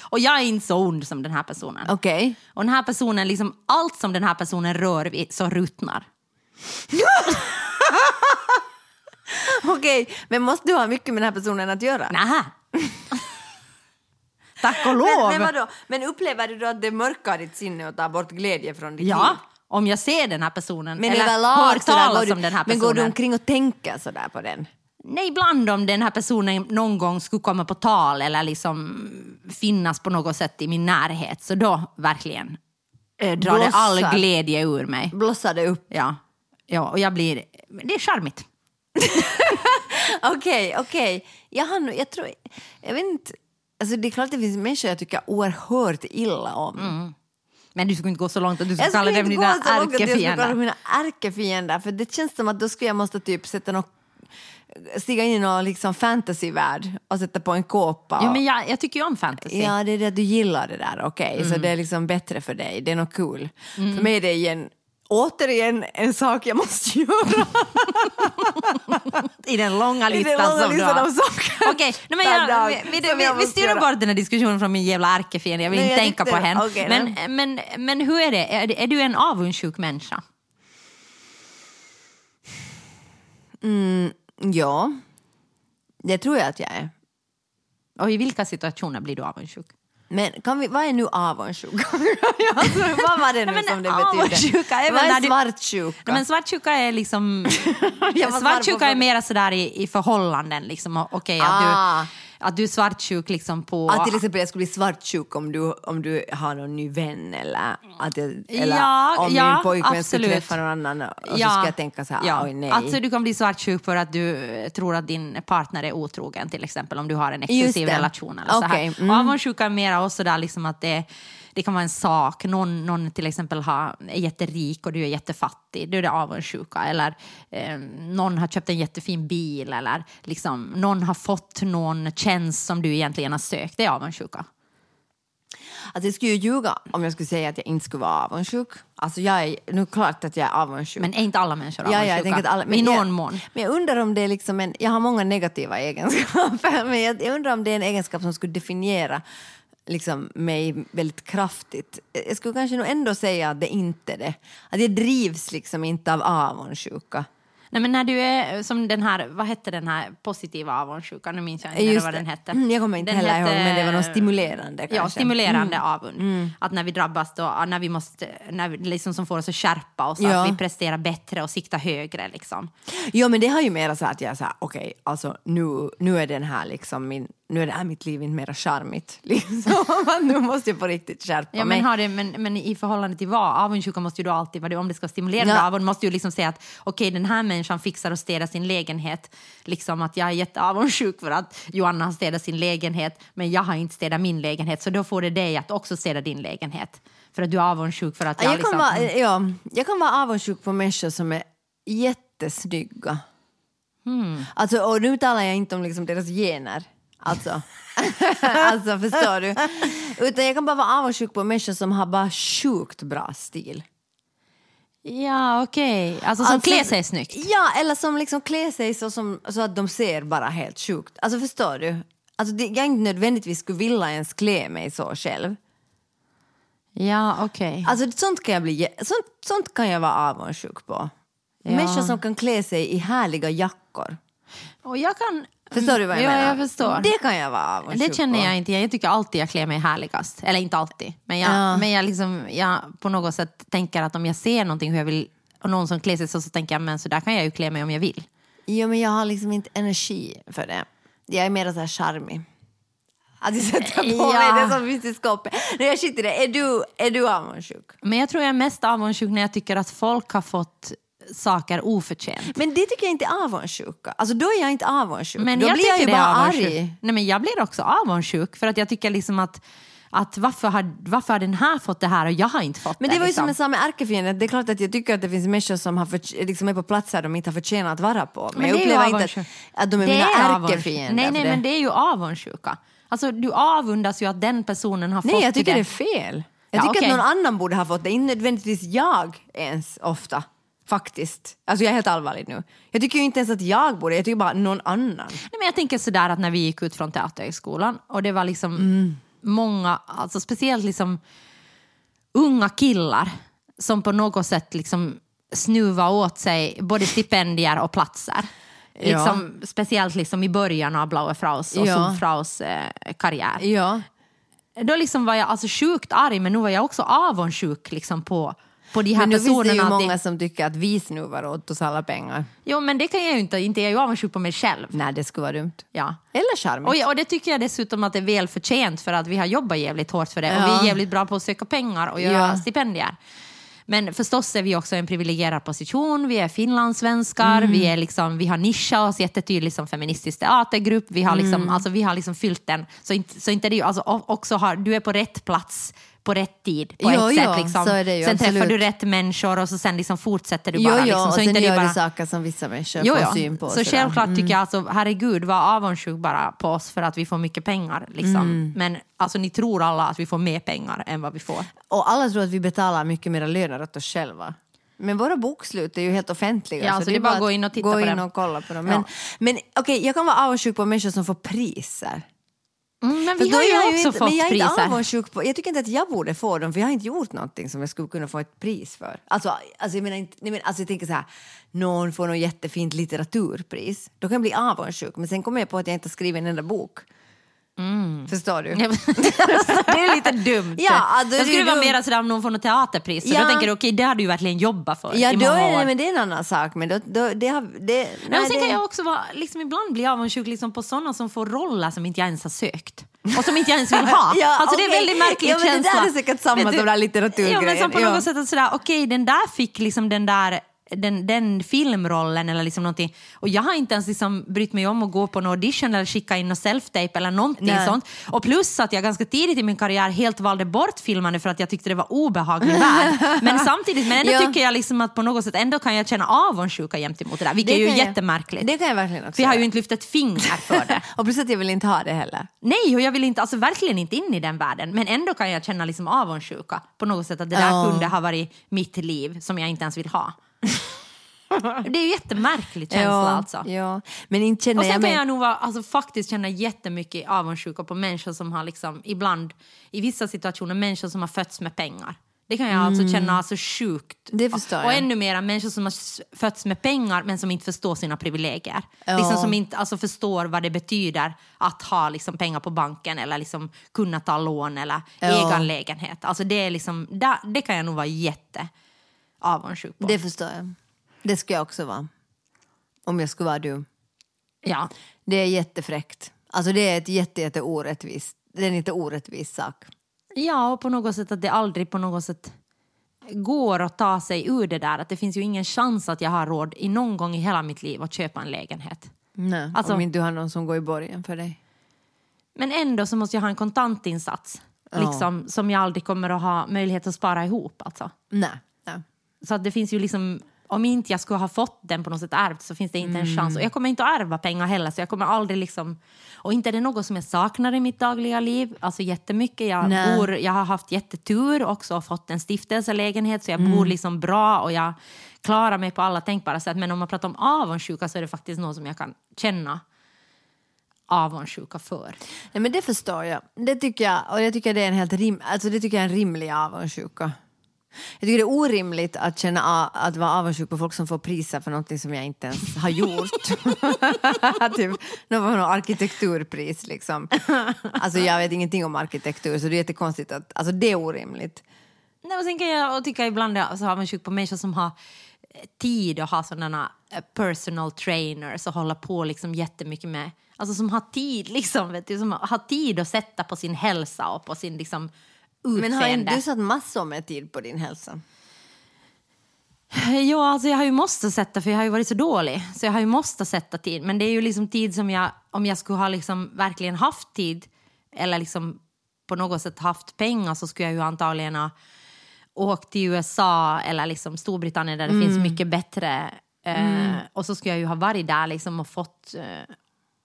[SPEAKER 3] Och jag är inte så ond som den här personen.
[SPEAKER 4] okej.
[SPEAKER 3] <laughs> Och den här personen, liksom allt som den här personen rör vid så ruttnar.
[SPEAKER 4] Okej, men måste du ha mycket med den här personen att göra? <laughs>
[SPEAKER 3] Nähä. Tack och lov.
[SPEAKER 4] Men, men, vadå? men upplever du då att det mörkar ditt sinne och tar bort glädje från ditt
[SPEAKER 3] ja,
[SPEAKER 4] liv?
[SPEAKER 3] om jag ser den här personen
[SPEAKER 4] Men
[SPEAKER 3] eller
[SPEAKER 4] överlag
[SPEAKER 3] hör
[SPEAKER 4] sådär, går
[SPEAKER 3] talas
[SPEAKER 4] du-
[SPEAKER 3] om den här
[SPEAKER 4] Men
[SPEAKER 3] personen.
[SPEAKER 4] går du omkring och tänker sådär på den?
[SPEAKER 3] Nej, ibland om den här personen någon gång skulle komma på tal eller liksom finnas på något sätt i min närhet, så då verkligen eh, drar det all
[SPEAKER 4] Blossar.
[SPEAKER 3] glädje ur mig.
[SPEAKER 4] Blossar det upp?
[SPEAKER 3] Ja, ja och jag blir... Det är charmigt.
[SPEAKER 4] Okej, okej. Jag har nog, jag tror, jag vet inte. Alltså det är klart det finns människor jag tycker oerhört illa om.
[SPEAKER 3] Men du skulle inte gå så långt att du skulle
[SPEAKER 4] Jag
[SPEAKER 3] kalla
[SPEAKER 4] skulle
[SPEAKER 3] Mm, dem
[SPEAKER 4] inte
[SPEAKER 3] dina
[SPEAKER 4] gå så långt att jag skulle kalla dem
[SPEAKER 3] ärkefiender.
[SPEAKER 4] mina ärkefiender för det känns som att då skulle jag måste typ sätta något, stiga in i någon liksom fantasyvärld och sätta på en kåpa.
[SPEAKER 3] Ja,
[SPEAKER 4] och-
[SPEAKER 3] men jag, jag tycker ju om fantasy. Mm.
[SPEAKER 4] Ja, det är det att du gillar det där, okej. Så det är liksom bättre för dig, det är nog cool. För mig är det igen, återigen en sak jag
[SPEAKER 3] <laughs>
[SPEAKER 4] måste göra
[SPEAKER 3] I den långa
[SPEAKER 4] i
[SPEAKER 3] listan
[SPEAKER 4] den långa
[SPEAKER 3] som du
[SPEAKER 4] listan av
[SPEAKER 3] har.
[SPEAKER 4] saker. <laughs>
[SPEAKER 3] Okej, nej, men
[SPEAKER 4] per
[SPEAKER 3] jag,
[SPEAKER 4] dag
[SPEAKER 3] vi, vi,
[SPEAKER 4] som jag
[SPEAKER 3] vi, vi
[SPEAKER 4] måste
[SPEAKER 3] styr
[SPEAKER 4] göra.
[SPEAKER 3] nog bort den här diskussionen från min jävla ärkefiende. Jag vill
[SPEAKER 4] Nej,
[SPEAKER 3] inte
[SPEAKER 4] jag
[SPEAKER 3] tänka på
[SPEAKER 4] tyckte-
[SPEAKER 3] henne.
[SPEAKER 4] okej,
[SPEAKER 3] men, men, men hur är det? Är, det- är du en avundsjuk människa?
[SPEAKER 4] Ja, det tror jag att jag är.
[SPEAKER 3] Och i vilka situationer blir du avundsjuk?
[SPEAKER 4] Men kan vi, vad är nu avundsjuka? <laughs> alltså, vad var det nu
[SPEAKER 3] men
[SPEAKER 4] som det
[SPEAKER 3] avundsjuka är
[SPEAKER 4] betydde?
[SPEAKER 3] väl
[SPEAKER 4] Vad
[SPEAKER 3] när
[SPEAKER 4] är
[SPEAKER 3] du-
[SPEAKER 4] svartsjuka?
[SPEAKER 3] Nej, men svartsjuka är liksom...
[SPEAKER 4] <laughs> Jag var snabb på
[SPEAKER 3] svartsjuka är
[SPEAKER 4] frågan.
[SPEAKER 3] mera sådär i, i förhållanden. Liksom. Okej, att du,
[SPEAKER 4] Ah.
[SPEAKER 3] att du är svartsjuk liksom på...
[SPEAKER 4] Att till exempel jag skulle bli svartsjuk om du, om du har någon ny vän eller, att jag, eller
[SPEAKER 3] Ja,
[SPEAKER 4] om
[SPEAKER 3] ja,
[SPEAKER 4] min pojkvän skulle
[SPEAKER 3] absolut.
[SPEAKER 4] träffa någon annan och så ska jag tänka så här,
[SPEAKER 3] ja.
[SPEAKER 4] oj nej.
[SPEAKER 3] Alltså du kan bli svartsjuk för att du eh, tror att din partner är otrogen till exempel om du har en
[SPEAKER 4] Just
[SPEAKER 3] exklusiv
[SPEAKER 4] det.
[SPEAKER 3] relation. Eller så
[SPEAKER 4] Okej,
[SPEAKER 3] här.
[SPEAKER 4] mm.
[SPEAKER 3] Och avundsjuka är mera också där liksom att det, det kan vara en sak, någon, någon till exempel har, är jätterik och du är jättefattig, då är det avundsjuka. Eller eh, någon har köpt en jättefin bil eller liksom, någon har fått någon tjänst som du egentligen har sökt, det är avundsjuka.
[SPEAKER 4] Alltså jag skulle ju ljuga om jag skulle säga att jag inte skulle vara avundsjuk. Alltså jag är, nu är det klart att jag är avundsjuk.
[SPEAKER 3] Men är inte alla människor
[SPEAKER 4] Ja,
[SPEAKER 3] avundsjuka?
[SPEAKER 4] ja, jag tänker att alla,
[SPEAKER 3] I någon
[SPEAKER 4] jag,
[SPEAKER 3] mån.
[SPEAKER 4] Men jag undrar om det är liksom en, jag har många negativa egenskaper, <laughs> men jag, jag undrar om det är en egenskap som skulle definiera liksom, mig väldigt kraftigt. Jag skulle kanske nog ändå säga att det inte är det. Att jag drivs liksom inte av avundsjuka.
[SPEAKER 3] Nej, men när du är eh, som den här, vad hette den här positiva avundsjukan? Nu minns jag inte
[SPEAKER 4] Just
[SPEAKER 3] vad
[SPEAKER 4] det.
[SPEAKER 3] den hette.
[SPEAKER 4] Mm, jag kommer inte heller ihåg, men det var något stimulerande
[SPEAKER 3] Ja,
[SPEAKER 4] kanske. Mm.
[SPEAKER 3] stimulerande avund. Att när vi drabbas då, ja, när vi måste, när vi, liksom som får oss att skärpa oss,
[SPEAKER 4] Ja.
[SPEAKER 3] att vi presterar bättre och siktar högre liksom.
[SPEAKER 4] Ja, men det har ju mera så att jag säger okej, alltså nu, nu är den här liksom min, nu är det här mitt liv inte mera charmigt. <laughs> Liksom. nu måste jag på riktigt skärpa
[SPEAKER 3] Ja,
[SPEAKER 4] mig.
[SPEAKER 3] men, har det, men, men i förhållande till vad? Avundsjuka måste ju då alltid vara det, om det ska stimulera
[SPEAKER 4] Ja.
[SPEAKER 3] ja. avund måste ju liksom säga att okej den här människan fixar och städar sin lägenhet. Liksom att jag är jätteavundsjuk för att Joanna har städat sin lägenhet men jag har inte städat min lägenhet så då får det dig att också städa din lägenhet. För att du är avundsjuk för att jag,
[SPEAKER 4] jag,
[SPEAKER 3] liksom...
[SPEAKER 4] kan vara, ja, jag kan vara avundsjuk på människor som är jättesnygga.
[SPEAKER 3] Mm.
[SPEAKER 4] Alltså, och nu talar jag inte om liksom deras gener. Alltså. <laughs> alltså, förstår du? Utan jag kan bara vara avundsjuk på människor som har bara sjukt bra stil.
[SPEAKER 3] Ja okej, alltså som
[SPEAKER 4] Alltså-
[SPEAKER 3] klär sig snyggt.
[SPEAKER 4] Ja, eller som liksom klär sig så, som, så att de ser bara helt sjukt. Alltså förstår du? Alltså, det, jag inte nödvändigtvis skulle vilja ens klä mig så själv.
[SPEAKER 3] Ja okej.
[SPEAKER 4] Alltså sånt kan jag, bli, jä- sånt, sånt kan jag vara avundsjuk på. Människor som kan klä sig i härliga jackor.
[SPEAKER 3] Och jag kan...
[SPEAKER 4] Förstår du vad jag
[SPEAKER 3] ja,
[SPEAKER 4] menar?
[SPEAKER 3] jag förstår.
[SPEAKER 4] Det kan jag vara avundsjuk
[SPEAKER 3] Det känner
[SPEAKER 4] på.
[SPEAKER 3] jag inte. Jag tycker alltid jag klär mig härligast. Eller inte alltid. Men jag,
[SPEAKER 4] Ja.
[SPEAKER 3] men jag, liksom, jag på något sätt tänker att om jag ser någonting hur jag vill och någon som klär sig så, så tänker jag men så där kan jag ju klä mig om jag vill.
[SPEAKER 4] Jo, men jag har liksom inte energi för det. Jag är mer så här charmig. Att jag sätter på
[SPEAKER 3] Ja.
[SPEAKER 4] mig det som finns i skåpet. Nej, jag skiter i det. Är du, är du avundsjuk?
[SPEAKER 3] Men jag tror jag är mest avundsjuk när jag tycker att folk har fått saker oförtjänt.
[SPEAKER 4] Men det tycker jag inte är avundsjuka. Alltså då är jag inte avundsjuk.
[SPEAKER 3] Men
[SPEAKER 4] då
[SPEAKER 3] jag
[SPEAKER 4] blir jag ju
[SPEAKER 3] tycker det
[SPEAKER 4] bara
[SPEAKER 3] är avundsjuk.
[SPEAKER 4] arg.
[SPEAKER 3] Nej, men jag blir också avundsjuk för att jag tycker liksom att, att varför, har, varför har den här fått det här och jag har inte fått
[SPEAKER 4] Men
[SPEAKER 3] det?
[SPEAKER 4] det var ju
[SPEAKER 3] liksom.
[SPEAKER 4] som en samma ärkefiende. Det är klart att jag tycker att det finns människor som har förtj- liksom är på platser de inte har förtjänat att vara på. Men,
[SPEAKER 3] Men
[SPEAKER 4] jag
[SPEAKER 3] det är ju
[SPEAKER 4] upplever inte
[SPEAKER 3] avundsjuk.
[SPEAKER 4] att, att de är
[SPEAKER 3] Det
[SPEAKER 4] mina
[SPEAKER 3] är avundsjuk.
[SPEAKER 4] ärkefiender.
[SPEAKER 3] Nej,
[SPEAKER 4] för
[SPEAKER 3] nej,
[SPEAKER 4] det.
[SPEAKER 3] men det är ju avundsjuka. Alltså, du avundas ju att den personen har
[SPEAKER 4] nej
[SPEAKER 3] fått
[SPEAKER 4] jag tycker det är
[SPEAKER 3] det.
[SPEAKER 4] fel. Jag
[SPEAKER 3] Ja,
[SPEAKER 4] tycker
[SPEAKER 3] okej.
[SPEAKER 4] att någon annan borde ha fått det. Inte nödvändigtvis jag ens ofta. Faktiskt. Alltså jag är helt allvarlig nu. Jag tycker ju inte ens att jag borde, jag tycker bara någon annan.
[SPEAKER 3] Nej, men jag tänker sådär att när vi gick ut från Teaterhögskolan och det var liksom
[SPEAKER 4] Mm.
[SPEAKER 3] många, alltså speciellt liksom unga killar som på något sätt liksom snuva åt sig både stipendier och platser. Liksom, Speciellt liksom i början av Blaue Fraus och
[SPEAKER 4] Ja.
[SPEAKER 3] ja. Fraus eh, karriär.
[SPEAKER 4] Ja.
[SPEAKER 3] Då liksom var jag alltså sjukt arg men nu var jag också avundsjuk liksom på, på de här
[SPEAKER 4] Men nu finns det
[SPEAKER 3] personerna.
[SPEAKER 4] ju
[SPEAKER 3] att det-
[SPEAKER 4] många som tycker att vi snuvar åt oss alla pengar.
[SPEAKER 3] Jo, men det kan jag ju inte. Inte är jag ju avundsjuk på mig själv.
[SPEAKER 4] Nej, det skulle vara dumt.
[SPEAKER 3] Ja.
[SPEAKER 4] Eller charmigt.
[SPEAKER 3] Och, och det tycker jag dessutom att det är välförtjänt för att vi har jobbat jävligt hårt för det
[SPEAKER 4] Ja.
[SPEAKER 3] och vi är jävligt bra på att söka pengar och göra
[SPEAKER 4] Ja.
[SPEAKER 3] stipendier. Men förstås är vi också i en privilegierad position. Vi är finlandssvenskar,
[SPEAKER 4] Mm.
[SPEAKER 3] vi, är liksom, vi har nischat oss jättetydligt som feministisk teatergrupp. Vi har liksom,
[SPEAKER 4] Mm.
[SPEAKER 3] alltså, vi har liksom fyllt den. Så inte, så inte det, är ju- alltså, o- också har, du är på rätt plats på rätt tid på
[SPEAKER 4] Jo,
[SPEAKER 3] ett
[SPEAKER 4] jo,
[SPEAKER 3] sätt. Liksom.
[SPEAKER 4] så är det ju,
[SPEAKER 3] sen träffar
[SPEAKER 4] absolut.
[SPEAKER 3] du rätt människor och så sen liksom fortsätter du bara.
[SPEAKER 4] jo, jo,
[SPEAKER 3] liksom.
[SPEAKER 4] och
[SPEAKER 3] så
[SPEAKER 4] sen
[SPEAKER 3] inte det är
[SPEAKER 4] gör
[SPEAKER 3] bara,
[SPEAKER 4] du saker som vissa människor
[SPEAKER 3] Jo,
[SPEAKER 4] får
[SPEAKER 3] ja.
[SPEAKER 4] syn på.
[SPEAKER 3] Så
[SPEAKER 4] sådär. Mm.
[SPEAKER 3] självklart tycker jag alltså, herregud var avundsjuk bara på oss för att vi får mycket pengar. Liksom.
[SPEAKER 4] Mm.
[SPEAKER 3] Men alltså, ni tror alla att vi får mer pengar än vad vi får.
[SPEAKER 4] Och alla tror att vi betalar mycket mer löner åt oss själva. Men våra bokslut är ju helt offentliga.
[SPEAKER 3] Ja, så det är bara att gå in och titta
[SPEAKER 4] gå
[SPEAKER 3] på
[SPEAKER 4] in
[SPEAKER 3] dem.
[SPEAKER 4] och kolla på dem. Men,
[SPEAKER 3] Ja.
[SPEAKER 4] men okej, jag kan vara avundsjuk på människor som får priser.
[SPEAKER 3] men
[SPEAKER 4] Fast
[SPEAKER 3] vi
[SPEAKER 4] då
[SPEAKER 3] har
[SPEAKER 4] är
[SPEAKER 3] ju
[SPEAKER 4] jag
[SPEAKER 3] också
[SPEAKER 4] inte,
[SPEAKER 3] fått
[SPEAKER 4] men jag är Inte
[SPEAKER 3] priser.
[SPEAKER 4] avundsjuk på, jag tycker inte att jag borde få dem, för jag har inte gjort någonting som jag skulle kunna få ett pris för. Alltså, alltså, jag, menar inte, nej, men, alltså jag tänker så här, någon får något jättefint litteraturpris. Då kan jag bli avundsjuk, men sen kommer jag på att jag inte har skrivit en enda bok.
[SPEAKER 3] <laughs>
[SPEAKER 4] Förstår du?
[SPEAKER 3] Ja, men- alltså, Mm. det är lite dumt.
[SPEAKER 4] Ja, alltså, det
[SPEAKER 3] jag skulle
[SPEAKER 4] är
[SPEAKER 3] vara
[SPEAKER 4] dumt.
[SPEAKER 3] mer sådär om någon får något teaterpris. Så
[SPEAKER 4] Ja.
[SPEAKER 3] Då tänker du, okej, det har du ju verkligen jobbat för
[SPEAKER 4] Ja,
[SPEAKER 3] i
[SPEAKER 4] då
[SPEAKER 3] många
[SPEAKER 4] är
[SPEAKER 3] år.
[SPEAKER 4] det, men det är en annan sak. Men då, då, det har, det,
[SPEAKER 3] Nej,
[SPEAKER 4] nej,
[SPEAKER 3] men sen
[SPEAKER 4] det,
[SPEAKER 3] kan jag också vara, liksom, ibland bli avundsjuk liksom, på sådana som får roller som inte jag ens har sökt. Och som inte jag ens vill ha.
[SPEAKER 4] <laughs> Ja,
[SPEAKER 3] alltså, Det är en
[SPEAKER 4] okej.
[SPEAKER 3] väldigt märklig
[SPEAKER 4] Ja, men det
[SPEAKER 3] känsla.
[SPEAKER 4] där är säkert samma
[SPEAKER 3] Vet du-
[SPEAKER 4] som den där litteraturgrejen.
[SPEAKER 3] Ja, men som på
[SPEAKER 4] Ja.
[SPEAKER 3] något sätt att sådär, okej, den där fick liksom den där den, den filmrollen eller liksom någonting. Och jag har inte ens liksom brytt mig om att gå på en audition eller skicka in någon self-tape eller någonting
[SPEAKER 4] Nej.
[SPEAKER 3] sånt. Och plus att jag ganska tidigt i min karriär helt valde bort filmande för att jag tyckte det var obehaglig värld.
[SPEAKER 4] <laughs>
[SPEAKER 3] Men samtidigt, men ändå
[SPEAKER 4] Ja.
[SPEAKER 3] tycker jag liksom att på något sätt ändå kan jag känna avundsjuka jämt emot det där, vilket är ju
[SPEAKER 4] kan jag-
[SPEAKER 3] jättemärkligt.
[SPEAKER 4] Det kan jag verkligen också
[SPEAKER 3] För jag har ju
[SPEAKER 4] göra.
[SPEAKER 3] inte lyft ett finger för det.
[SPEAKER 4] <laughs> Och plus att jag vill inte ha det heller.
[SPEAKER 3] <laughs> Nej, och jag vill inte, alltså verkligen inte in i den världen. Men ändå kan jag känna liksom avundsjuka på något sätt att det där
[SPEAKER 4] Ja.
[SPEAKER 3] kunde ha varit mitt liv som jag inte ens vill <laughs> ha. det är ju jättemärklig känsla
[SPEAKER 4] ja,
[SPEAKER 3] alltså.
[SPEAKER 4] Ja. Men inte känner
[SPEAKER 3] Och sen
[SPEAKER 4] jag
[SPEAKER 3] kan
[SPEAKER 4] mig...
[SPEAKER 3] jag nog vara, alltså, faktiskt känna jättemycket avundsjuka på människor som har liksom, ibland, i vissa situationer, människor som har fötts med pengar. Det kan jag alltså känna alltså sjukt.
[SPEAKER 4] Mm. Det förstår
[SPEAKER 3] och,
[SPEAKER 4] jag.
[SPEAKER 3] ännu mer människor som har s- fötts med pengar men som inte förstår sina privilegier.
[SPEAKER 4] Ja.
[SPEAKER 3] Liksom som inte alltså, förstår vad det betyder att ha liksom, pengar på banken eller liksom, kunna ta lån eller
[SPEAKER 4] Ja.
[SPEAKER 3] äga en lägenhet. Alltså, det, är liksom, där, det kan jag nog vara jätte avundsjuk på.
[SPEAKER 4] Det förstår jag. Det skulle jag också vara. Om jag skulle vara du.
[SPEAKER 3] Ja.
[SPEAKER 4] Det är jättefräckt. Alltså det är ett jätte, jätte orättvist. Det är en inte orättvis sak.
[SPEAKER 3] Ja, och på något sätt att det aldrig på något sätt går att ta sig ur det där. Att det finns ju ingen chans att jag har råd i någon gång i hela mitt liv att köpa en lägenhet.
[SPEAKER 4] Nej,
[SPEAKER 3] Alltså-
[SPEAKER 4] om inte du har någon som går i borgen för dig.
[SPEAKER 3] Men ändå så måste jag ha en kontantinsats liksom, som jag aldrig kommer att ha möjlighet att spara ihop. Alltså.
[SPEAKER 4] Nej. Nej.
[SPEAKER 3] Så att det finns ju liksom, om inte jag skulle ha fått den på något sätt ärvt så finns det inte en chans. Och jag kommer inte att ärva pengar heller så jag kommer aldrig liksom, och inte är det något som jag saknar i mitt dagliga liv, alltså jättemycket. Jag,
[SPEAKER 4] Nej.
[SPEAKER 3] bor, jag har haft jättetur också och fått en stiftelselägenhet så jag bor liksom bra och jag klarar mig på alla tänkbara sätt. Men om man pratar om avundsjuka så är det faktiskt något som jag kan känna avundsjuka för.
[SPEAKER 4] Nej, men det förstår jag. Det tycker jag, och jag tycker det är en helt rim, alltså det tycker jag är en rimlig avundsjuka. Jag tycker det är orimligt att känna a- att vara avundsjuk på folk som får priser för någonting som jag inte ens har gjort. <laughs> typ någon, någon arkitekturpris liksom. Alltså jag vet ingenting om arkitektur så det är jättekonstigt att, alltså det är orimligt.
[SPEAKER 3] Nej, och sen kan jag tycka ibland är jag så avundsjuk på människor som har eh, tid att ha sådana eh, personal trainers och hålla på liksom jättemycket med, alltså som har tid <laughs> liksom, vet du, som har tid att sätta på sin hälsa och på sin liksom
[SPEAKER 4] Men har
[SPEAKER 3] utseende.
[SPEAKER 4] inte du satt massor med tid på din hälsa?
[SPEAKER 3] Ja, alltså jag har ju måste sätta för jag har ju varit så dålig. Så jag har ju måste sätta tid. Men det är ju liksom tid som jag, om jag skulle ha liksom verkligen haft tid eller liksom på något sätt haft pengar så skulle jag ju antagligen ha åkt till USA eller liksom Storbritannien där det
[SPEAKER 4] Mm.
[SPEAKER 3] finns mycket bättre. Eh, Och så skulle jag ju ha varit där liksom och fått eh,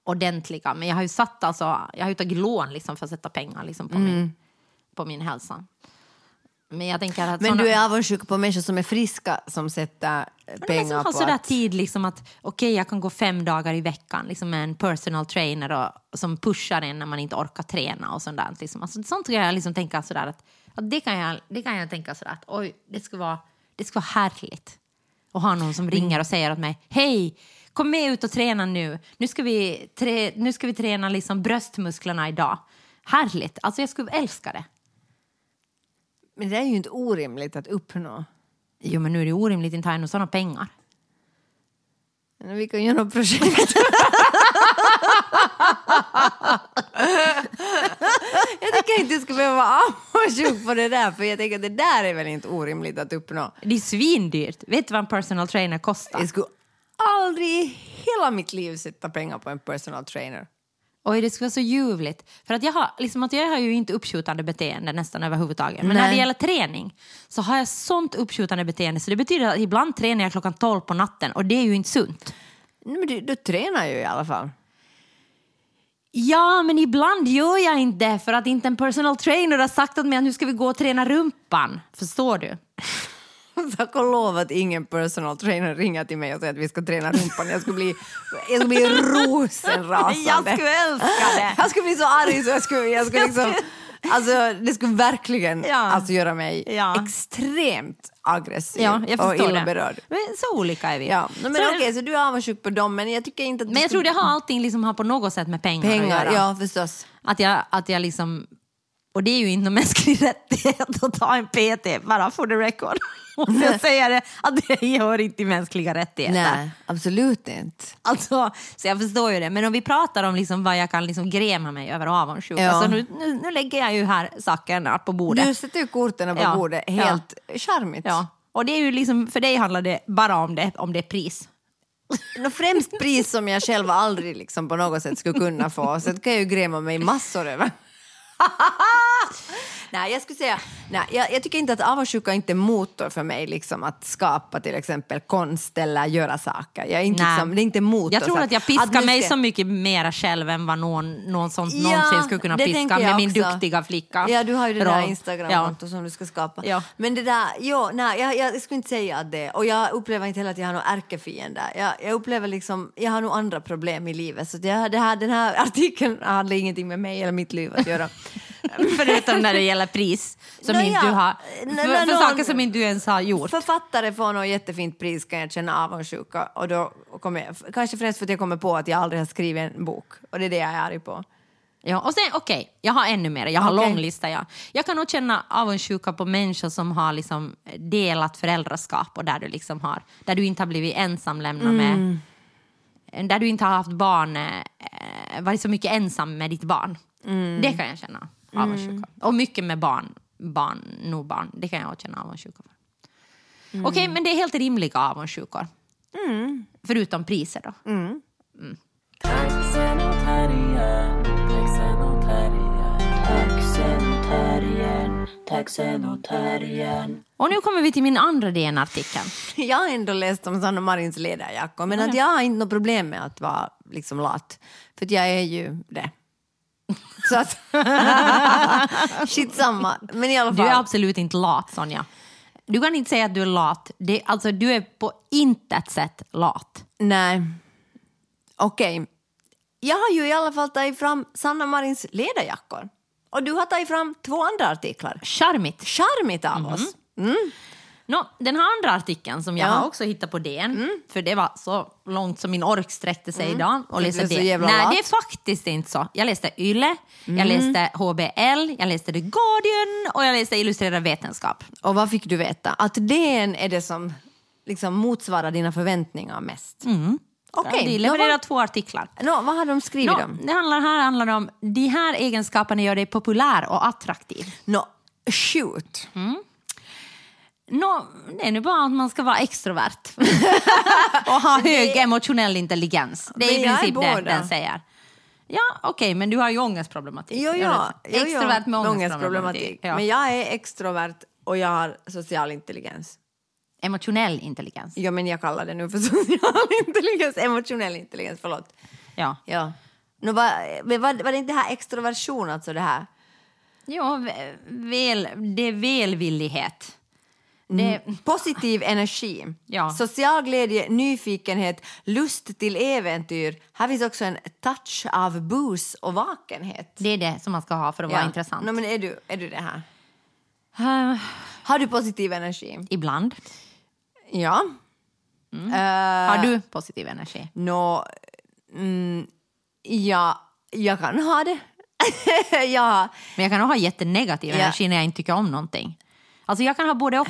[SPEAKER 3] ordentliga. Men jag har ju satt alltså, jag har ju tagit lån liksom för att sätta pengar liksom på,
[SPEAKER 4] Mm.
[SPEAKER 3] min, på min hälsa. Men jag tänker att
[SPEAKER 4] Men
[SPEAKER 3] såna-
[SPEAKER 4] du är avundsjuk på människor som är friska som sätter eh,
[SPEAKER 3] Nej, men som
[SPEAKER 4] pengar
[SPEAKER 3] har
[SPEAKER 4] på
[SPEAKER 3] sådär
[SPEAKER 4] att...
[SPEAKER 3] tid liksom att okej jag kan gå fem dagar i veckan liksom med en personal trainer och, som pushar en när man inte orkar träna och sånt där. Liksom. Alltså, sånt kan jag liksom tänka sådär att, att det, kan jag, det kan jag tänka sådär att oj det skulle vara, det skulle vara härligt att ha någon som ringer och säger åt mig hej kom med ut och träna nu, nu ska vi, trä, nu ska vi träna liksom bröstmusklerna idag. Härligt, alltså jag skulle älska det.
[SPEAKER 4] Men det är ju inte orimligt att uppnå.
[SPEAKER 3] Jo men nu är det orimligt, inte har jag några sådana pengar.
[SPEAKER 4] Men Vi kan göra något projekt. <laughs> jag tycker inte du ska behöva vara avundsjuk på det där för jag tänker att det där är väl inte orimligt att uppnå.
[SPEAKER 3] Det är svindyrt, vet du vad en personal trainer kostar?
[SPEAKER 4] Jag skulle aldrig i hela mitt liv sätta pengar på en personal trainer.
[SPEAKER 3] Oj, det skulle vara så ljuvligt. För att jag har, liksom att jag har ju inte uppskjutande beteende nästan överhuvudtaget. Men
[SPEAKER 4] Nej.
[SPEAKER 3] när det gäller träning så har jag sånt uppskjutande beteende så det betyder att ibland tränar jag klockan 12 på natten och det är ju inte sunt.
[SPEAKER 4] Nej, men du, du tränar ju i alla fall. <laughs>
[SPEAKER 3] Ja, men ibland gör jag inte det för att inte en personal trainer har sagt åt mig att nu ska vi gå och träna rumpan. Förstår du?
[SPEAKER 4] Tack och lov att ingen personal trainer ringer till mig och säger att vi ska träna rumpan. Jag skulle bli, jag skulle <laughs> bli rosenrasande.
[SPEAKER 3] Jag skulle älska alltså, det!
[SPEAKER 4] <laughs> Jag skulle bli så arg så jag skulle, jag skulle liksom... Alltså, det skulle verkligen
[SPEAKER 3] Ja.
[SPEAKER 4] alltså, göra mig
[SPEAKER 3] Ja.
[SPEAKER 4] extremt
[SPEAKER 3] <laughs>
[SPEAKER 4] aggressiv
[SPEAKER 3] Ja, jag
[SPEAKER 4] och
[SPEAKER 3] förstår
[SPEAKER 4] illa
[SPEAKER 3] det.
[SPEAKER 4] berörd.
[SPEAKER 3] Men Så olika är vi.
[SPEAKER 4] Ja. Men
[SPEAKER 3] Så-
[SPEAKER 4] okej, så du är avundsjuk på dem men jag tycker inte att du
[SPEAKER 3] Men jag
[SPEAKER 4] skulle-
[SPEAKER 3] tror det har allting liksom har på något sätt med pengar, att
[SPEAKER 4] pengar.
[SPEAKER 3] göra.
[SPEAKER 4] Ja, förstås.
[SPEAKER 3] Att jag, att jag liksom... Och det är ju inte en <laughs> mänsklig rättighet att ta en PT, bara for the record. <laughs> Om jag säger det, att det hör inte till mänskliga rättigheter.
[SPEAKER 4] Nej, absolut inte.
[SPEAKER 3] Alltså, så jag förstår ju det. Men om vi pratar om liksom vad jag kan liksom gräma mig över avundsjuka.
[SPEAKER 4] Ja.
[SPEAKER 3] Så nu, nu, nu lägger jag ju här sakerna på bordet.
[SPEAKER 4] Du sätter ju korten på
[SPEAKER 3] Ja.
[SPEAKER 4] bordet, helt charmigt.
[SPEAKER 3] Ja. Och det är ju liksom, för dig handlar det bara om det, om det är pris.
[SPEAKER 4] Nå, främst pris som jag själv aldrig liksom på något sätt skulle kunna få. Sen kan jag ju gräma mig massor över. <laughs> nej, jag skulle säga, nej, jag, jag tycker inte att avundsjuka är inte en motor för mig liksom, att skapa till exempel konst eller göra saker. Jag är inte,
[SPEAKER 3] Nej.
[SPEAKER 4] liksom, det är inte en motor.
[SPEAKER 3] Jag tror
[SPEAKER 4] så
[SPEAKER 3] att jag piskar
[SPEAKER 4] nu ska-
[SPEAKER 3] mig så mycket mera själv än vad någon, någon sånt
[SPEAKER 4] Ja,
[SPEAKER 3] någonsin skulle kunna
[SPEAKER 4] det
[SPEAKER 3] piska
[SPEAKER 4] tänker jag
[SPEAKER 3] med min
[SPEAKER 4] också.
[SPEAKER 3] duktiga flicka.
[SPEAKER 4] Ja, du har ju det
[SPEAKER 3] roll.
[SPEAKER 4] där Instagramkonto som du ska skapa.
[SPEAKER 3] Ja.
[SPEAKER 4] Men det där, jo, nej, jag, jag skulle inte säga att det Och jag upplever inte heller att jag har någon ärkefiende. Jag, jag upplever liksom, jag har nog andra problem i livet. Så att jag, det här, den här artikeln hade ingenting med mig eller mitt liv att göra.
[SPEAKER 3] Förutom när det gäller pris, som
[SPEAKER 4] Nå,
[SPEAKER 3] inte
[SPEAKER 4] ja.
[SPEAKER 3] du har,
[SPEAKER 4] Nå,
[SPEAKER 3] för,
[SPEAKER 4] nå,
[SPEAKER 3] för
[SPEAKER 4] nå.
[SPEAKER 3] saker som inte du ens har <laughs> gjort.
[SPEAKER 4] Författare får något jättefint pris kan jag känna avundsjuka. Och då kommer jag, kanske främst för att jag kommer på att jag aldrig har skrivit en bok. Och det är det jag är arg på.
[SPEAKER 3] Ja, och sen, okej, jag har ännu mer. Jag har
[SPEAKER 4] Okej.
[SPEAKER 3] lång lista. Ja. Jag kan nog känna avundsjuka på människor som har liksom delat föräldraskap och där du, liksom har, där du inte har blivit ensamlämnad
[SPEAKER 4] Mm.
[SPEAKER 3] med. Där du inte har haft barn, eh, varit så mycket ensam med ditt barn.
[SPEAKER 4] Mm.
[SPEAKER 3] Det kan jag känna avundsjuka Och mycket med barn, barn, nog barn. Det kan jag känna avundsjuka för.
[SPEAKER 4] Mm.
[SPEAKER 3] Okej, men det är helt rimliga avundsjukor. Förutom priser då.
[SPEAKER 4] Mm.
[SPEAKER 1] Taxenotarian, taxenotarian,
[SPEAKER 2] Taxenotarian, taxenotarian.
[SPEAKER 3] Och nu kommer vi till min andra DN-artikel.
[SPEAKER 4] <laughs> Jag har ändå läst om Sanna Marins ledarjackor men att jag har inte något problem med att vara liksom lat. För att jag är ju det. <laughs> Så att... <laughs> Skitsamma. Men i alla
[SPEAKER 3] Du är
[SPEAKER 4] fall.
[SPEAKER 3] absolut inte lat, Sonja. Du kan inte säga att du är lat. Det, alltså, du är på intet sätt lat.
[SPEAKER 4] Nej. Okej. Jag har ju i alla fall tagit fram Sanna Marins ledarjackor. Och du har tagit fram två andra artiklar.
[SPEAKER 3] Charmigt.
[SPEAKER 4] Charmigt av
[SPEAKER 3] Mhm.
[SPEAKER 4] oss.
[SPEAKER 3] Nå, den här andra artikeln som jag
[SPEAKER 4] Ja. Mm.
[SPEAKER 3] har också hittat på DN, för det var så långt som min ork sträckte sig idag. Och
[SPEAKER 4] du
[SPEAKER 3] läsa
[SPEAKER 4] är Mm. så
[SPEAKER 3] DN.
[SPEAKER 4] jävla
[SPEAKER 3] Nej,
[SPEAKER 4] lat. Mm.
[SPEAKER 3] det är faktiskt inte så. Jag läste Yle, jag läste HBL, jag läste The Guardian och jag läste Illustrerad vetenskap.
[SPEAKER 4] Och vad fick du veta? Att DN är det som liksom motsvarar dina förväntningar mest. Okej.
[SPEAKER 3] Mm. Ja, de
[SPEAKER 4] Nå, vad-
[SPEAKER 3] levererar två artiklar.
[SPEAKER 4] Nå, vad har de skrivit
[SPEAKER 3] Nå,
[SPEAKER 4] om?
[SPEAKER 3] det handlar, här handlar det om de här egenskaperna gör dig populär och attraktiv.
[SPEAKER 4] Nå, shoot.
[SPEAKER 3] Mm. Nå, det är nu bara att man ska vara extrovert och <laughs> ha hög emotionell intelligens. Det är
[SPEAKER 4] Men
[SPEAKER 3] i
[SPEAKER 4] jag är
[SPEAKER 3] princip det
[SPEAKER 4] båda.
[SPEAKER 3] den säger. Ja, okej, men du har ju ångestproblematik.
[SPEAKER 4] Jo, ja.
[SPEAKER 3] Jag vet. Extrovert med ångestproblematik. Ja.
[SPEAKER 4] Men jag är extrovert och jag har social intelligens.
[SPEAKER 3] Emotionell intelligens.
[SPEAKER 4] Ja, men jag kallar det nu för <laughs> social intelligens. Emotionell intelligens, förlåt.
[SPEAKER 3] Ja.
[SPEAKER 4] Ja. Nå, vad- men var, var det inte det här extroversion, alltså det här?
[SPEAKER 3] Jo, v- väl, det är välvillighet. Det,
[SPEAKER 4] Positiv energi,
[SPEAKER 3] Ja.
[SPEAKER 4] social glädje, nyfikenhet, lust till äventyr. Här finns också en touch av bus och vakenhet.
[SPEAKER 3] det är det som man ska ha för att vara
[SPEAKER 4] Ja.
[SPEAKER 3] intressant.
[SPEAKER 4] Nå, men är du, är du det här?
[SPEAKER 3] Eh,
[SPEAKER 4] Har du positiv energi?
[SPEAKER 3] ibland.
[SPEAKER 4] Ja. Eh,
[SPEAKER 3] Har du positiv energi?
[SPEAKER 4] Nå, mm, ja, jag kan ha det. <laughs> ja,
[SPEAKER 3] Men jag kan ha jättenegativ
[SPEAKER 4] Ja.
[SPEAKER 3] energi när jag inte tycker om någonting. Alltså jag kan ha både och.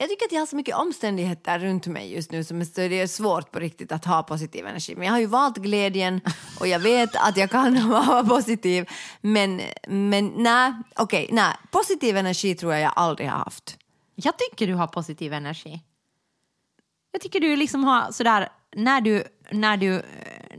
[SPEAKER 4] jag tycker att jag har så mycket omständigheter runt mig just nu som är så det är svårt på riktigt att ha positiv energi. Men jag har ju valt glädjen och jag vet att jag kan <laughs> vara positiv. Men, men nej, okej, nej. Positiv energi tror jag jag aldrig har haft.
[SPEAKER 3] Jag tycker du har positiv energi. Jag tycker du liksom har sådär, när du, när du, eh,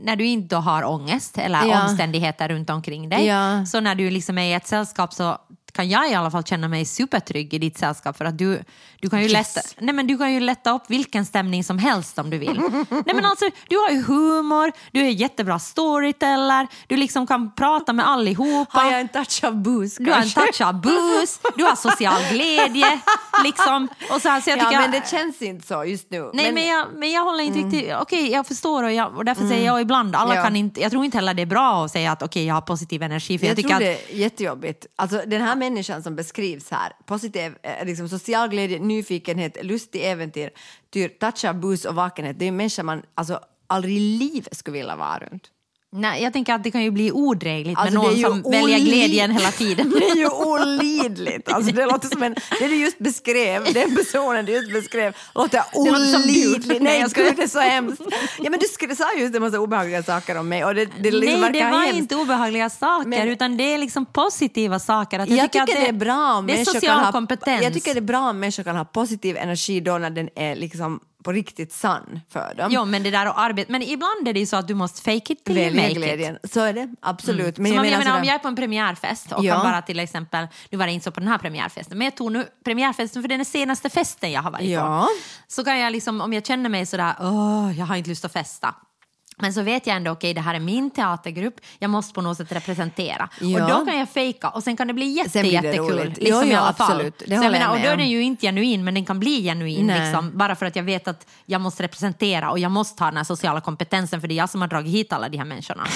[SPEAKER 3] när du inte har ångest eller
[SPEAKER 4] Ja.
[SPEAKER 3] omständigheter runt omkring dig,
[SPEAKER 4] Ja.
[SPEAKER 3] så när du liksom är i ett sällskap så kan jag i alla fall känna mig supertrygg i ditt sällskap för att du, du, kan ju lätta, nej men du kan ju lätta upp vilken stämning som helst om du vill. nej men alltså, du har ju humor, du är jättebra storyteller, du liksom kan prata med allihopa.
[SPEAKER 4] Har jag en touch av bus
[SPEAKER 3] Du har en
[SPEAKER 4] kanske?
[SPEAKER 3] touch av bus, du har social glädje. Liksom. Och så här, så jag tycker
[SPEAKER 4] Ja, men
[SPEAKER 3] jag-
[SPEAKER 4] det känns inte så just nu.
[SPEAKER 3] Nej, men, jag, men jag håller inte riktigt... Okej, jag förstår och, jag, och därför säger jag ibland... Alla
[SPEAKER 4] Mm. Ja.
[SPEAKER 3] kan inte, jag tror inte heller det är bra att säga att okej, jag har positiv energi. För jag,
[SPEAKER 4] jag
[SPEAKER 3] tycker
[SPEAKER 4] tror
[SPEAKER 3] att,
[SPEAKER 4] det är jättejobbigt. Alltså, den här människan som beskrivs här, positiv, eh, liksom, social glädje, nyfikenhet, lust till äventyr, tyr, touch av bus och vakenhet, det är en människa man alltså, aldrig i livet skulle vilja vara runt.
[SPEAKER 3] Nej, jag tänker att det kan ju bli odrägligt
[SPEAKER 4] Alltså,
[SPEAKER 3] med
[SPEAKER 4] det är
[SPEAKER 3] någon
[SPEAKER 4] ju
[SPEAKER 3] som väljer
[SPEAKER 4] oli-
[SPEAKER 3] glädjen hela tiden.
[SPEAKER 4] <laughs> Det är ju olidligt. Alltså, det låter som en, det du just beskrev, den personen du just beskrev, låter
[SPEAKER 3] låter som du.
[SPEAKER 4] olidlig. Nej,
[SPEAKER 3] Nej,
[SPEAKER 4] jag
[SPEAKER 3] jag
[SPEAKER 4] skulle det är så hemskt. Ja, men du skulle, sa just en massa obehagliga saker om mig och det, det liksom
[SPEAKER 3] Nej,
[SPEAKER 4] verkar
[SPEAKER 3] det var
[SPEAKER 4] hemskt.
[SPEAKER 3] inte obehagliga saker,
[SPEAKER 4] Men-
[SPEAKER 3] utan det är liksom positiva saker. Att
[SPEAKER 4] Jag,
[SPEAKER 3] jag,
[SPEAKER 4] tycker att det är bra om
[SPEAKER 3] Det är
[SPEAKER 4] människor
[SPEAKER 3] social
[SPEAKER 4] kan ha,
[SPEAKER 3] kompetens.
[SPEAKER 4] Jag tycker det är bra om människor kan ha positiv energi då när den är liksom på riktigt sann för dem.
[SPEAKER 3] Jo, men det där och arbete. Men ibland är det ju så att du måste fake it till you
[SPEAKER 4] Välja
[SPEAKER 3] make it.
[SPEAKER 4] glädjen. Mm. Så är det, absolut.
[SPEAKER 3] Men
[SPEAKER 4] Men
[SPEAKER 3] jag
[SPEAKER 4] jag
[SPEAKER 3] menar,
[SPEAKER 4] sådär-
[SPEAKER 3] Mm. om jag är på en premiärfest och
[SPEAKER 4] Ja.
[SPEAKER 3] kan bara till exempel, nu var det inte så på den här premiärfesten, men jag tog nu premiärfesten för det är den senaste festen jag har varit
[SPEAKER 4] Ja.
[SPEAKER 3] på. Så kan jag liksom, om jag känner mig sådär, åh, jag har inte lust att festa. Men så vet jag ändå, okej det här är min teatergrupp, jag måste på något sätt representera.
[SPEAKER 4] Ja.
[SPEAKER 3] Och då kan jag fejka och sen kan det bli jätte,
[SPEAKER 4] Sen blir det
[SPEAKER 3] jättekul.
[SPEAKER 4] roligt.
[SPEAKER 3] Liksom
[SPEAKER 4] Jo, jo,
[SPEAKER 3] i alla fall.
[SPEAKER 4] absolut. Det
[SPEAKER 3] så
[SPEAKER 4] håller
[SPEAKER 3] jag
[SPEAKER 4] jag
[SPEAKER 3] menar, och
[SPEAKER 4] med
[SPEAKER 3] då är
[SPEAKER 4] om.
[SPEAKER 3] den ju inte genuin, men den kan bli genuin.
[SPEAKER 4] Nej.
[SPEAKER 3] Liksom, bara för att jag vet att jag måste representera och jag måste ha den här sociala kompetensen för det är jag som har dragit hit alla de här människorna.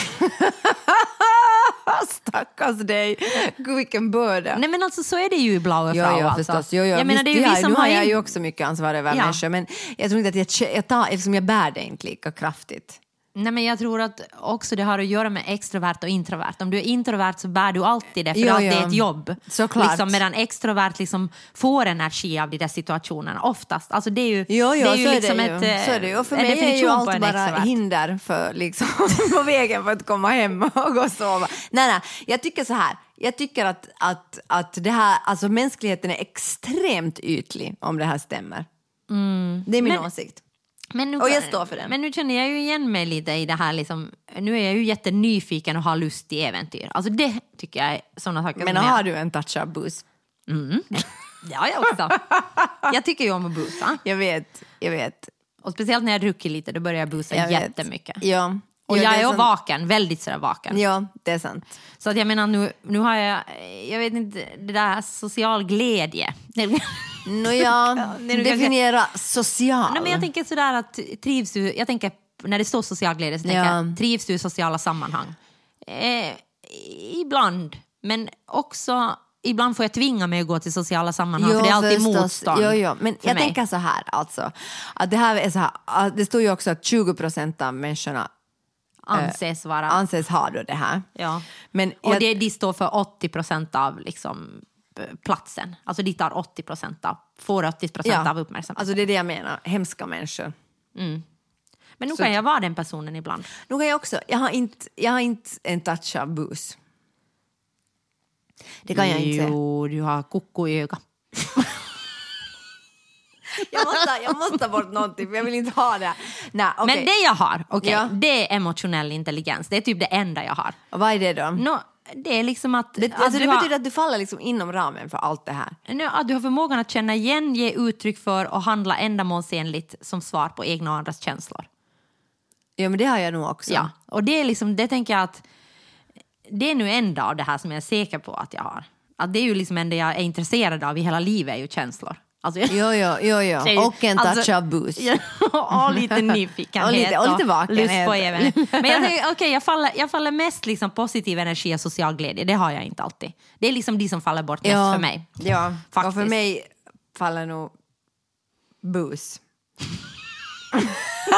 [SPEAKER 4] Ah, <laughs> Stackars dig! Gud, vilken börda.
[SPEAKER 3] Nej men alltså så är det ju i Blaue Frau.
[SPEAKER 4] Ja, ja
[SPEAKER 3] alltså.
[SPEAKER 4] förstås. Jo, jo.
[SPEAKER 3] Jag menar, det är ju
[SPEAKER 4] Visst,
[SPEAKER 3] vi
[SPEAKER 4] har-
[SPEAKER 3] som
[SPEAKER 4] nu
[SPEAKER 3] har
[SPEAKER 4] har jag
[SPEAKER 3] in...
[SPEAKER 4] ju också mycket ansvar över
[SPEAKER 3] Ja.
[SPEAKER 4] människor men jag tror inte att jag, kä- jag, tar, liksom jag bär det inte lika kraftigt.
[SPEAKER 3] Nej men jag tror att också det har att göra med extrovert och introvert. Om du är introvert så bär du alltid det för
[SPEAKER 4] Jo,
[SPEAKER 3] att
[SPEAKER 4] jo.
[SPEAKER 3] det är ett jobb.
[SPEAKER 4] Såklart.
[SPEAKER 3] Liksom, medan extrovert liksom får energi av de där situationerna oftast. Alltså det är ju,
[SPEAKER 4] Jo, jo,
[SPEAKER 3] det är ju
[SPEAKER 4] så
[SPEAKER 3] liksom
[SPEAKER 4] är det
[SPEAKER 3] ett,
[SPEAKER 4] ju.
[SPEAKER 3] eh,
[SPEAKER 4] så är det ju. Och för
[SPEAKER 3] en
[SPEAKER 4] mig är ju
[SPEAKER 3] definition på
[SPEAKER 4] allt
[SPEAKER 3] en
[SPEAKER 4] bara
[SPEAKER 3] extrovert.
[SPEAKER 4] hinder för, liksom, <laughs> på vägen för att komma hem och gå och sova. Nej, nej, jag tycker så här. Jag tycker att, att, att det här, alltså mänskligheten är extremt ytlig om det här stämmer.
[SPEAKER 3] Mm.
[SPEAKER 4] Det är min åsikt.
[SPEAKER 3] Men nu,
[SPEAKER 4] Och jag står för det.
[SPEAKER 3] Men nu känner jag ju igen mig lite i det här liksom, nu är jag ju jättenyfiken och har lust till äventyr. Alltså det tycker jag är sådana saker
[SPEAKER 4] Men
[SPEAKER 3] som jag...
[SPEAKER 4] har du en touch av bus?
[SPEAKER 3] Det har jag också. jag tycker ju om att busa.
[SPEAKER 4] Jag vet, jag vet.
[SPEAKER 3] Och speciellt när jag druckit lite, då börjar jag busa
[SPEAKER 4] Jag vet.
[SPEAKER 3] jättemycket.
[SPEAKER 4] Ja.
[SPEAKER 3] Och
[SPEAKER 4] Ja,
[SPEAKER 3] jag
[SPEAKER 4] det
[SPEAKER 3] är,
[SPEAKER 4] sant.
[SPEAKER 3] vaken, väldigt sådär vaken.
[SPEAKER 4] Ja, det är sant.
[SPEAKER 3] Så att jag menar nu, nu har jag, jag vet inte, det där social glädje. <laughs> Nej <laughs>
[SPEAKER 4] Nåja,
[SPEAKER 3] det är nog
[SPEAKER 4] definiera social.
[SPEAKER 3] men jag tänker sådär att trivs du, jag tänker när det står social glädje så tänker
[SPEAKER 4] Ja.
[SPEAKER 3] jag, trivs du i sociala sammanhang? Eh, ibland, men också ibland får jag tvinga mig att gå till sociala sammanhang för det är alltid
[SPEAKER 4] förstås.
[SPEAKER 3] motstånd.
[SPEAKER 4] Jo, jo. Men
[SPEAKER 3] för
[SPEAKER 4] jag
[SPEAKER 3] mig.
[SPEAKER 4] tänker så här alltså. Att det, här är så här att det står ju också att 20 procent av människorna eh,
[SPEAKER 3] Anses vara.
[SPEAKER 4] anses ha då det här.
[SPEAKER 3] ja.
[SPEAKER 4] Men
[SPEAKER 3] Och
[SPEAKER 4] jag,
[SPEAKER 3] det, de står för 80 procent av liksom, eh, platsen. Alltså de tar 80 procent av, får 80 procent
[SPEAKER 4] ja,
[SPEAKER 3] av uppmärksamheten.
[SPEAKER 4] Alltså det är det jag menar, hemska människor.
[SPEAKER 3] Men nu kan jag vara den personen ibland.
[SPEAKER 4] Nu kan jag också, jag har inte, jag har inte en touch av bus. Det kan jag inte. säga.
[SPEAKER 3] Jo, du har koko i ögat.
[SPEAKER 4] Jag måste, jag måste ta bort någonting för jag vill inte ha det. Nej, okay.
[SPEAKER 3] Men det jag har, okej,
[SPEAKER 4] Ja.
[SPEAKER 3] det är emotionell intelligens. Det är typ det enda jag har.
[SPEAKER 4] Vad är det då?
[SPEAKER 3] Nå, det är liksom att,
[SPEAKER 4] det
[SPEAKER 3] att,
[SPEAKER 4] alltså
[SPEAKER 3] Mm. du
[SPEAKER 4] det betyder
[SPEAKER 3] har,
[SPEAKER 4] att du faller liksom inom ramen för allt det här.
[SPEAKER 3] nå, att du har förmågan att känna igen, ge uttryck för och handla ändamålsenligt som svar på egna och andras känslor.
[SPEAKER 4] Ja men det har jag nog också.
[SPEAKER 3] Ja, och det är liksom, det tänker jag att det är nu en dag det här som jag är säker på att jag har. Att det är ju liksom en det jag är intresserad av i hela livet är ju känslor. Alltså, jag-
[SPEAKER 4] Jo, jo, jo,
[SPEAKER 3] säger-
[SPEAKER 4] jo. Och en touch
[SPEAKER 3] alltså-
[SPEAKER 4] av bus.
[SPEAKER 3] Ja, <laughs> och
[SPEAKER 4] <laughs>
[SPEAKER 3] lite nyfikenhet
[SPEAKER 4] Och lite- och lite vakenhet.
[SPEAKER 3] lust på även.
[SPEAKER 4] <laughs>
[SPEAKER 3] Men jag, tänker, okay, jag, faller, jag faller mest liksom positiv energi och social glädje, det har jag inte alltid. Det är liksom de som faller bort mest för mig.
[SPEAKER 4] Ja,
[SPEAKER 3] Faktiskt.
[SPEAKER 4] och för mig faller nog bus. <laughs>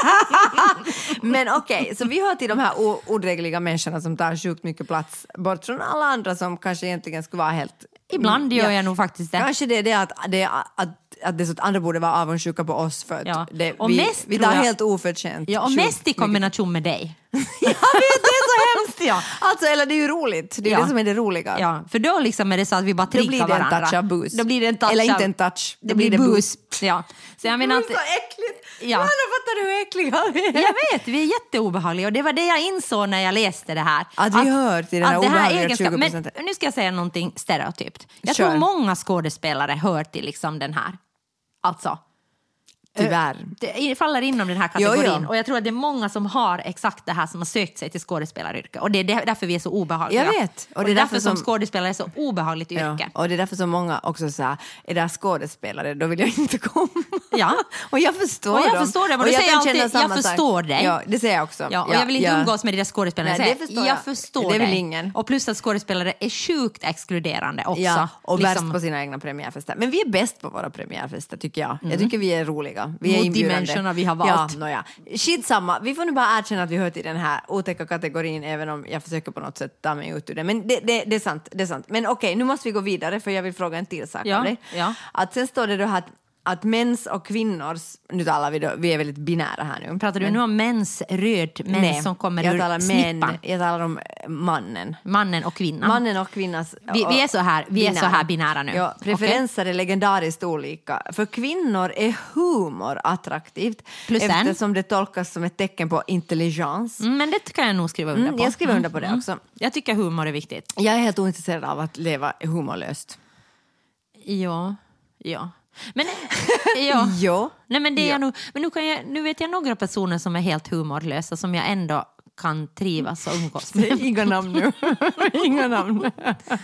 [SPEAKER 4] Men okej, så vi hör till de här o- odrägliga människorna som tar sjukt mycket plats bort från alla andra som kanske egentligen skulle vara helt...
[SPEAKER 3] Ibland gör
[SPEAKER 4] Mm, Ja.
[SPEAKER 3] jag nog faktiskt det.
[SPEAKER 4] Kanske det är det att, det, att, att det är så att andra borde vara avundsjuka på oss för att
[SPEAKER 3] Ja.
[SPEAKER 4] det,
[SPEAKER 3] Och
[SPEAKER 4] vi,
[SPEAKER 3] mest
[SPEAKER 4] vi
[SPEAKER 3] tror
[SPEAKER 4] tar
[SPEAKER 3] jag-
[SPEAKER 4] helt oförtjänt.
[SPEAKER 3] Ja, och
[SPEAKER 4] sjukt
[SPEAKER 3] mest i
[SPEAKER 4] mycket.
[SPEAKER 3] kombination med
[SPEAKER 4] <laughs>
[SPEAKER 3] dig.
[SPEAKER 4] Jag vet, det är så hemskt!
[SPEAKER 3] ja.
[SPEAKER 4] Alltså, eller det är ju roligt, det är ju
[SPEAKER 3] Ja.
[SPEAKER 4] det som är det roliga.
[SPEAKER 3] ja, för då liksom är det så att vi bara
[SPEAKER 4] Då blir
[SPEAKER 3] triggar
[SPEAKER 4] det en
[SPEAKER 3] varandra.
[SPEAKER 4] touch av bus.
[SPEAKER 3] Då blir det en touch
[SPEAKER 4] Eller
[SPEAKER 3] av-
[SPEAKER 4] inte en touch,
[SPEAKER 3] Det blir det
[SPEAKER 4] bus.
[SPEAKER 3] bus. Ja. Så jag menar att,
[SPEAKER 4] Det är så äckligt!
[SPEAKER 3] Ja.
[SPEAKER 4] Man fattar du hur äckliga vi är?
[SPEAKER 3] jag vet, vi är jätteobehagliga och det var det jag insåg när jag läste det här.
[SPEAKER 4] Att vi hör till den här
[SPEAKER 3] att det
[SPEAKER 4] obehagliga
[SPEAKER 3] egenskapen-
[SPEAKER 4] 20%.
[SPEAKER 3] Men nu ska jag säga någonting stereotypt. Jag
[SPEAKER 4] Kör.
[SPEAKER 3] tror många skådespelare hör till liksom den här. Alltså,
[SPEAKER 4] Tyvärr.
[SPEAKER 3] det faller inom den här
[SPEAKER 4] Jo,
[SPEAKER 3] kategorin.
[SPEAKER 4] jo.
[SPEAKER 3] Och jag tror att det är många som har exakt det här som har sökt sig till skådespelaryrket. Och det är där- därför vi är så obehagliga.
[SPEAKER 4] Jag vet.
[SPEAKER 3] Och det är därför, som skådespelare är så obehagligt
[SPEAKER 4] Ja.
[SPEAKER 3] yrke.
[SPEAKER 4] Och det är därför så många också säger, är det här skådespelare, då vill jag inte komma.
[SPEAKER 3] Ja.
[SPEAKER 4] <laughs> Och jag förstår
[SPEAKER 3] Och jag
[SPEAKER 4] dem.
[SPEAKER 3] förstår det, men
[SPEAKER 4] Och
[SPEAKER 3] du säger
[SPEAKER 4] kan
[SPEAKER 3] alltid,
[SPEAKER 4] känna
[SPEAKER 3] "Jag
[SPEAKER 4] samma sak."
[SPEAKER 3] förstår dig.
[SPEAKER 4] Ja, det säger jag också.
[SPEAKER 3] Ja, och jag vill inte
[SPEAKER 4] liksom. ja.
[SPEAKER 3] umgås med de där skådespelarna.
[SPEAKER 4] Nej, det
[SPEAKER 3] Jag säger,
[SPEAKER 4] förstår jag.
[SPEAKER 3] jag förstår
[SPEAKER 4] Det vill
[SPEAKER 3] dig.
[SPEAKER 4] ingen.
[SPEAKER 3] Och plus att skådespelare är sjukt exkluderande också.
[SPEAKER 4] Ja, och
[SPEAKER 3] Liksom-
[SPEAKER 4] värst på sina egna premiärfester. Men vi är bäst på våra premiärfester tycker jag. Jag tycker vi är roliga otäcka. Vi är
[SPEAKER 3] Mot
[SPEAKER 4] inbjudande.
[SPEAKER 3] dimensionerna vi har valt.
[SPEAKER 4] Ja, nåja. Skitsamma, vi får nu bara erkänna att vi hör till den här otäcka kategorin även om jag försöker på något sätt ta mig ut ur det. Men det, det, det är sant, det är sant. Men okej, nu måste vi gå vidare för jag vill fråga en till sak
[SPEAKER 3] Ja,
[SPEAKER 4] av dig.
[SPEAKER 3] ja.
[SPEAKER 4] Att sen står det då här att, att mäns och kvinnors, nu talar vi då, vi är väldigt binära här nu.
[SPEAKER 3] Pratar du nu om mens, röd mens
[SPEAKER 4] Mm. Nej,
[SPEAKER 3] som kommer
[SPEAKER 4] jag
[SPEAKER 3] ur
[SPEAKER 4] talar
[SPEAKER 3] snippan?
[SPEAKER 4] män, Jag talar om eh, mannen.
[SPEAKER 3] Mannen och kvinnan?
[SPEAKER 4] Mannen och kvinnas...
[SPEAKER 3] Vi- vi är så här- vi är så här binära nu.
[SPEAKER 4] Ja, preferenser är legendariskt olika. För kvinnor är humor attraktivt
[SPEAKER 3] Plus en.
[SPEAKER 4] eftersom det tolkas som ett tecken på intelligens.
[SPEAKER 3] Mm, Men det kan jag nog skriva under
[SPEAKER 4] Mm,
[SPEAKER 3] på.
[SPEAKER 4] jag skriver under på det också.
[SPEAKER 3] Jag tycker humor är viktigt.
[SPEAKER 4] Jag är helt ointresserad av att leva humorlöst.
[SPEAKER 3] Ja, ja. Men, <laughs> ja. <laughs>
[SPEAKER 4] Jo.
[SPEAKER 3] Nej, men, det är
[SPEAKER 4] Ja.
[SPEAKER 3] jag nog, men nu, kan jag, nu vet jag några personer som är helt humorlösa som jag ändå kan trivas och umgås
[SPEAKER 4] <laughs>
[SPEAKER 3] med. <laughs>
[SPEAKER 4] Inga namn nu. Inga namn.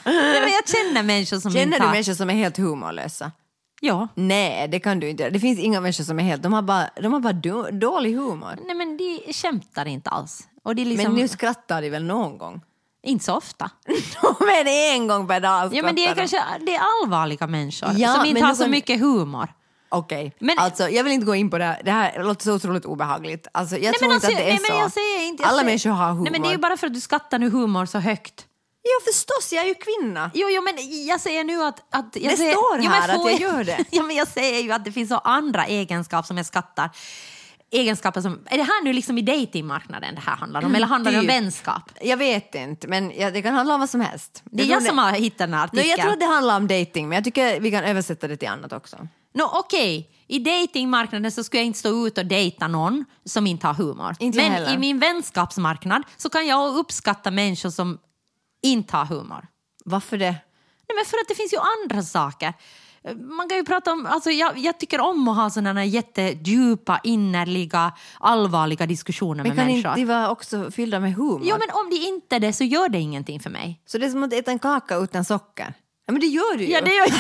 [SPEAKER 3] Nej, men jag känner människor som
[SPEAKER 4] Känner
[SPEAKER 3] inte
[SPEAKER 4] du
[SPEAKER 3] har-
[SPEAKER 4] människor som är helt humorlösa?
[SPEAKER 3] Ja.
[SPEAKER 4] Nej, det kan du inte. Det finns inga människor som är helt... De har bara, de har bara då, dålig humor.
[SPEAKER 3] Nej, men de skämtar inte alls. Och det är liksom,
[SPEAKER 4] Men nu skrattar de väl någon gång?
[SPEAKER 3] Inte så ofta.
[SPEAKER 4] <laughs> men en gång per dag
[SPEAKER 3] Ja, men det är
[SPEAKER 4] skrattar de.
[SPEAKER 3] kanske det är allvarliga människor
[SPEAKER 4] Ja,
[SPEAKER 3] som inte
[SPEAKER 4] men
[SPEAKER 3] har
[SPEAKER 4] nu
[SPEAKER 3] så
[SPEAKER 4] kan-
[SPEAKER 3] mycket humor.
[SPEAKER 4] Okej,
[SPEAKER 3] Men-
[SPEAKER 4] alltså jag vill inte gå in på det här. Det här låter så otroligt obehagligt. Alltså, jag tror
[SPEAKER 3] men
[SPEAKER 4] inte
[SPEAKER 3] alltså,
[SPEAKER 4] att det är
[SPEAKER 3] nej,
[SPEAKER 4] så.
[SPEAKER 3] men jag säger inte, jag
[SPEAKER 4] Alla
[SPEAKER 3] säger,
[SPEAKER 4] människor har humor.
[SPEAKER 3] Nej, men det är ju bara för att du skattar nu humor så högt.
[SPEAKER 4] Ja förstås, jag är ju kvinna.
[SPEAKER 3] Jo, jo, men jag säger nu att... att jag
[SPEAKER 4] Det
[SPEAKER 3] säger,
[SPEAKER 4] står
[SPEAKER 3] jo, men
[SPEAKER 4] här att
[SPEAKER 3] får
[SPEAKER 4] jag gör det.
[SPEAKER 3] <laughs> ja, men jag säger ju att det finns så andra egenskaper som jag skattar. Egenskaper som... Är det här nu liksom i dejtingmarknaden det här handlar om? eller handlar det om
[SPEAKER 4] typ.
[SPEAKER 3] vänskap?
[SPEAKER 4] Jag vet inte, men jag, det kan handla om vad som helst.
[SPEAKER 3] Det är jag, som har hittat den här
[SPEAKER 4] Nej,
[SPEAKER 3] artikeln.
[SPEAKER 4] jag tror att det handlar om dating, men jag tycker vi kan översätta det till annat också.
[SPEAKER 3] Nå, okej. I dejtingmarknaden så skulle jag inte stå ut och dejta någon som inte har humor.
[SPEAKER 4] Inte jag
[SPEAKER 3] Men
[SPEAKER 4] heller.
[SPEAKER 3] i min vänskapsmarknad så kan jag uppskatta människor som inte har humor.
[SPEAKER 4] Varför det?
[SPEAKER 3] Nej, men för att det finns ju andra saker. Man kan ju prata om, alltså jag, jag tycker om att ha sådana jättedjupa, innerliga, allvarliga diskussioner
[SPEAKER 4] Men
[SPEAKER 3] med
[SPEAKER 4] kan
[SPEAKER 3] människor.
[SPEAKER 4] inte de vara också fyllda med humor?
[SPEAKER 3] Jo, men om det inte är det så gör det ingenting för mig.
[SPEAKER 4] Så det är som att äta en kaka utan socker? Ja men det gör du ju!
[SPEAKER 3] Ja, det gör jag.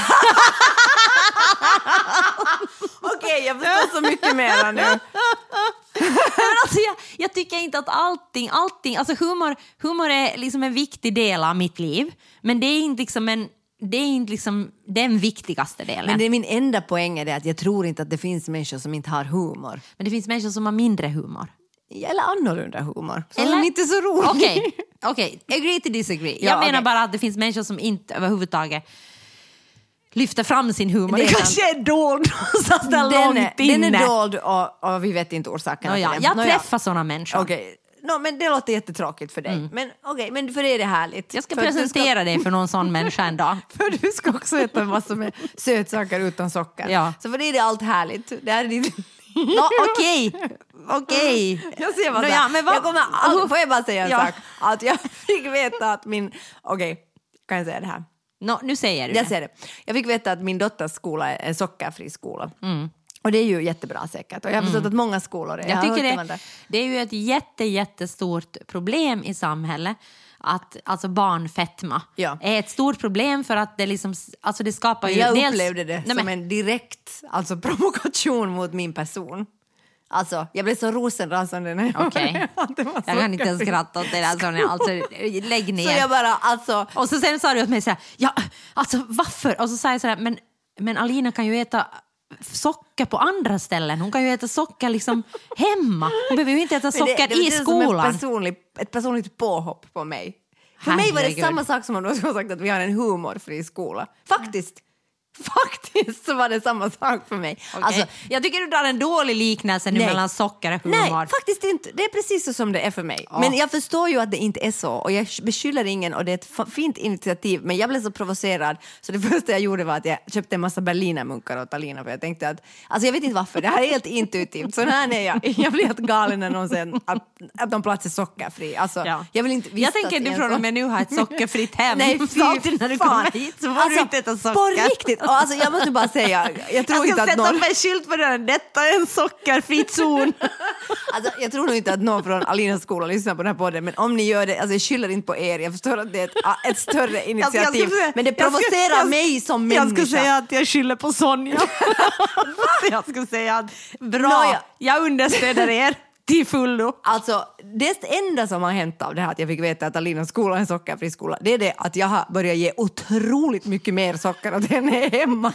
[SPEAKER 4] Okej, jag förstår så mycket
[SPEAKER 3] <laughs>
[SPEAKER 4] mer nu.
[SPEAKER 3] Men <laughs> alltså jag, jag tycker inte att allting, allting, alltså humor, humor är liksom en viktig del av mitt liv, men det är inte liksom en, det är inte liksom den viktigaste delen.
[SPEAKER 4] Men det är min enda poäng är det att jag tror inte att det finns människor som inte har humor.
[SPEAKER 3] men det finns människor som har mindre humor.
[SPEAKER 4] Eller annorlunda humor. Som
[SPEAKER 3] Eller-
[SPEAKER 4] inte är så rolig.
[SPEAKER 3] Okej,
[SPEAKER 4] <laughs>
[SPEAKER 3] okej. agree to disagree.
[SPEAKER 4] Ja,
[SPEAKER 3] jag menar
[SPEAKER 4] okej.
[SPEAKER 3] bara att det finns människor som inte överhuvudtaget lyfter fram sin humor.
[SPEAKER 4] Det är
[SPEAKER 3] är dold
[SPEAKER 4] <laughs>
[SPEAKER 3] någonstans där
[SPEAKER 4] Den är,
[SPEAKER 3] långt
[SPEAKER 4] den
[SPEAKER 3] inne.
[SPEAKER 4] är dold och, och vi vet inte orsaken.
[SPEAKER 3] Nåja, jag träffar sådana människor.
[SPEAKER 4] Okej, Nå, men det låter jättetråkigt för dig. Men okej, men för dig är det härligt.
[SPEAKER 3] Jag ska
[SPEAKER 4] för att du
[SPEAKER 3] presentera dig för någon sån människa en dag.
[SPEAKER 4] <laughs> För du ska också äta massor med sötsaker utan socker.
[SPEAKER 3] Ja.
[SPEAKER 4] Så för dig är det allt härligt. Det här är <laughs> ditt
[SPEAKER 3] Nå, Okej, okej.
[SPEAKER 4] <laughs>
[SPEAKER 3] <laughs>
[SPEAKER 4] Jag ser vad
[SPEAKER 3] Nå,
[SPEAKER 4] det
[SPEAKER 3] ja,
[SPEAKER 4] är.
[SPEAKER 3] men vad-
[SPEAKER 4] jag kommer all... Får jag bara säga en
[SPEAKER 3] Ja.
[SPEAKER 4] sak? Att jag <laughs> fick veta att min... Okej, kan jag säga det här?
[SPEAKER 3] Nå, nu säger du
[SPEAKER 4] Jag
[SPEAKER 3] det.
[SPEAKER 4] ser det. Jag fick veta att min dotters skola är en sockerfri skola. Och det är ju jättebra säkert. Och jag har förstått att många skolor är.
[SPEAKER 3] Mm. Jag
[SPEAKER 4] har hört
[SPEAKER 3] tycker
[SPEAKER 4] om
[SPEAKER 3] det, det är ju ett jätte, jättestort problem i samhället att alltså barnfetma
[SPEAKER 4] Ja.
[SPEAKER 3] är ett stort problem för att det liksom, alltså det skapar ju
[SPEAKER 4] Jag
[SPEAKER 3] dels-
[SPEAKER 4] upplevde det
[SPEAKER 3] Nej,
[SPEAKER 4] som
[SPEAKER 3] men-
[SPEAKER 4] en direkt alltså, <laughs> provokation mot min person. Alltså, jag blev så rosenrasande när jag
[SPEAKER 3] Okej.
[SPEAKER 4] hörde att det var
[SPEAKER 3] Jag kan inte ens
[SPEAKER 4] sockerfri.
[SPEAKER 3] skratta åt det där. Sonja. Alltså, lägg ner.
[SPEAKER 4] Så jag bara, alltså...
[SPEAKER 3] Och så sen sa du åt mig så här, ja, alltså varför? Och så sa jag så här, men, men Alina kan ju äta socker på andra ställen. Hon kan ju äta socker liksom hemma. Hon behöver ju inte äta
[SPEAKER 4] Men
[SPEAKER 3] socker
[SPEAKER 4] det, det
[SPEAKER 3] i
[SPEAKER 4] var Som en
[SPEAKER 3] skolan.
[SPEAKER 4] personlig, ett personligt påhopp på mig. För mig var det
[SPEAKER 3] Herregud.
[SPEAKER 4] samma sak som om du skulle ha sagt att <laughs> vi har en humorfri skola. Faktiskt. <laughs> Faktiskt så var det samma sak för mig.
[SPEAKER 3] Alltså,
[SPEAKER 4] Alltså,
[SPEAKER 3] jag tycker du drar en dålig liknelse nu
[SPEAKER 4] Nej.
[SPEAKER 3] mellan socker och
[SPEAKER 4] Nej,
[SPEAKER 3] humor.
[SPEAKER 4] faktiskt inte. Det är precis så som det är för mig. Men jag förstår ju att det inte är så och jag beskyller ingen och det är ett fa- fint initiativ men jag blev så provocerad så det <laughs> första jag gjorde var att jag köpte en massa berlinermunkar åt Alina för jag tänkte att, alltså jag vet inte varför, det här är helt intuitivt, så här är jag. <laughs> Jag blir helt galen när någon säger att, att någon plats är sockerfri. Alltså,
[SPEAKER 3] Ja.
[SPEAKER 4] jag vill inte
[SPEAKER 3] jag
[SPEAKER 4] vistas
[SPEAKER 3] tänker
[SPEAKER 4] i
[SPEAKER 3] du
[SPEAKER 4] en
[SPEAKER 3] från
[SPEAKER 4] sån-
[SPEAKER 3] och med nu har ett
[SPEAKER 4] <laughs>
[SPEAKER 3] sockerfritt hem.
[SPEAKER 4] Nej,
[SPEAKER 3] Så alltid
[SPEAKER 4] fy
[SPEAKER 3] när du
[SPEAKER 4] fan. Alltså,
[SPEAKER 3] kommer hit så får du inte äta socker.
[SPEAKER 4] På riktigt! Och alltså, jag måste bara säga, jag tror inte att någon...
[SPEAKER 3] en skylt på dörren. Detta är en sockerfri
[SPEAKER 4] <laughs>
[SPEAKER 3] zon.
[SPEAKER 4] Alltså, jag tror nog inte att någon från Alinas skola lyssnar på den här podden, men om ni gör det, alltså jag skyller inte på er, jag förstår att det är ett, ett större
[SPEAKER 3] Jag ska- jag ska
[SPEAKER 4] initiativ,
[SPEAKER 3] säga-
[SPEAKER 4] men det
[SPEAKER 3] jag ska-
[SPEAKER 4] provocerar
[SPEAKER 3] jag-
[SPEAKER 4] mig som människa.
[SPEAKER 3] Jag ska säga att jag skyller på <laughs> Sonja. jag ska säga att bra,
[SPEAKER 4] Nåja.
[SPEAKER 3] jag understöder er. till fullo.
[SPEAKER 4] Alltså, det enda som har hänt av det här att jag fick veta att Alinas skola är en sockerfri skola, det är det att jag har börjat ge otroligt mycket mer socker åt henne hemma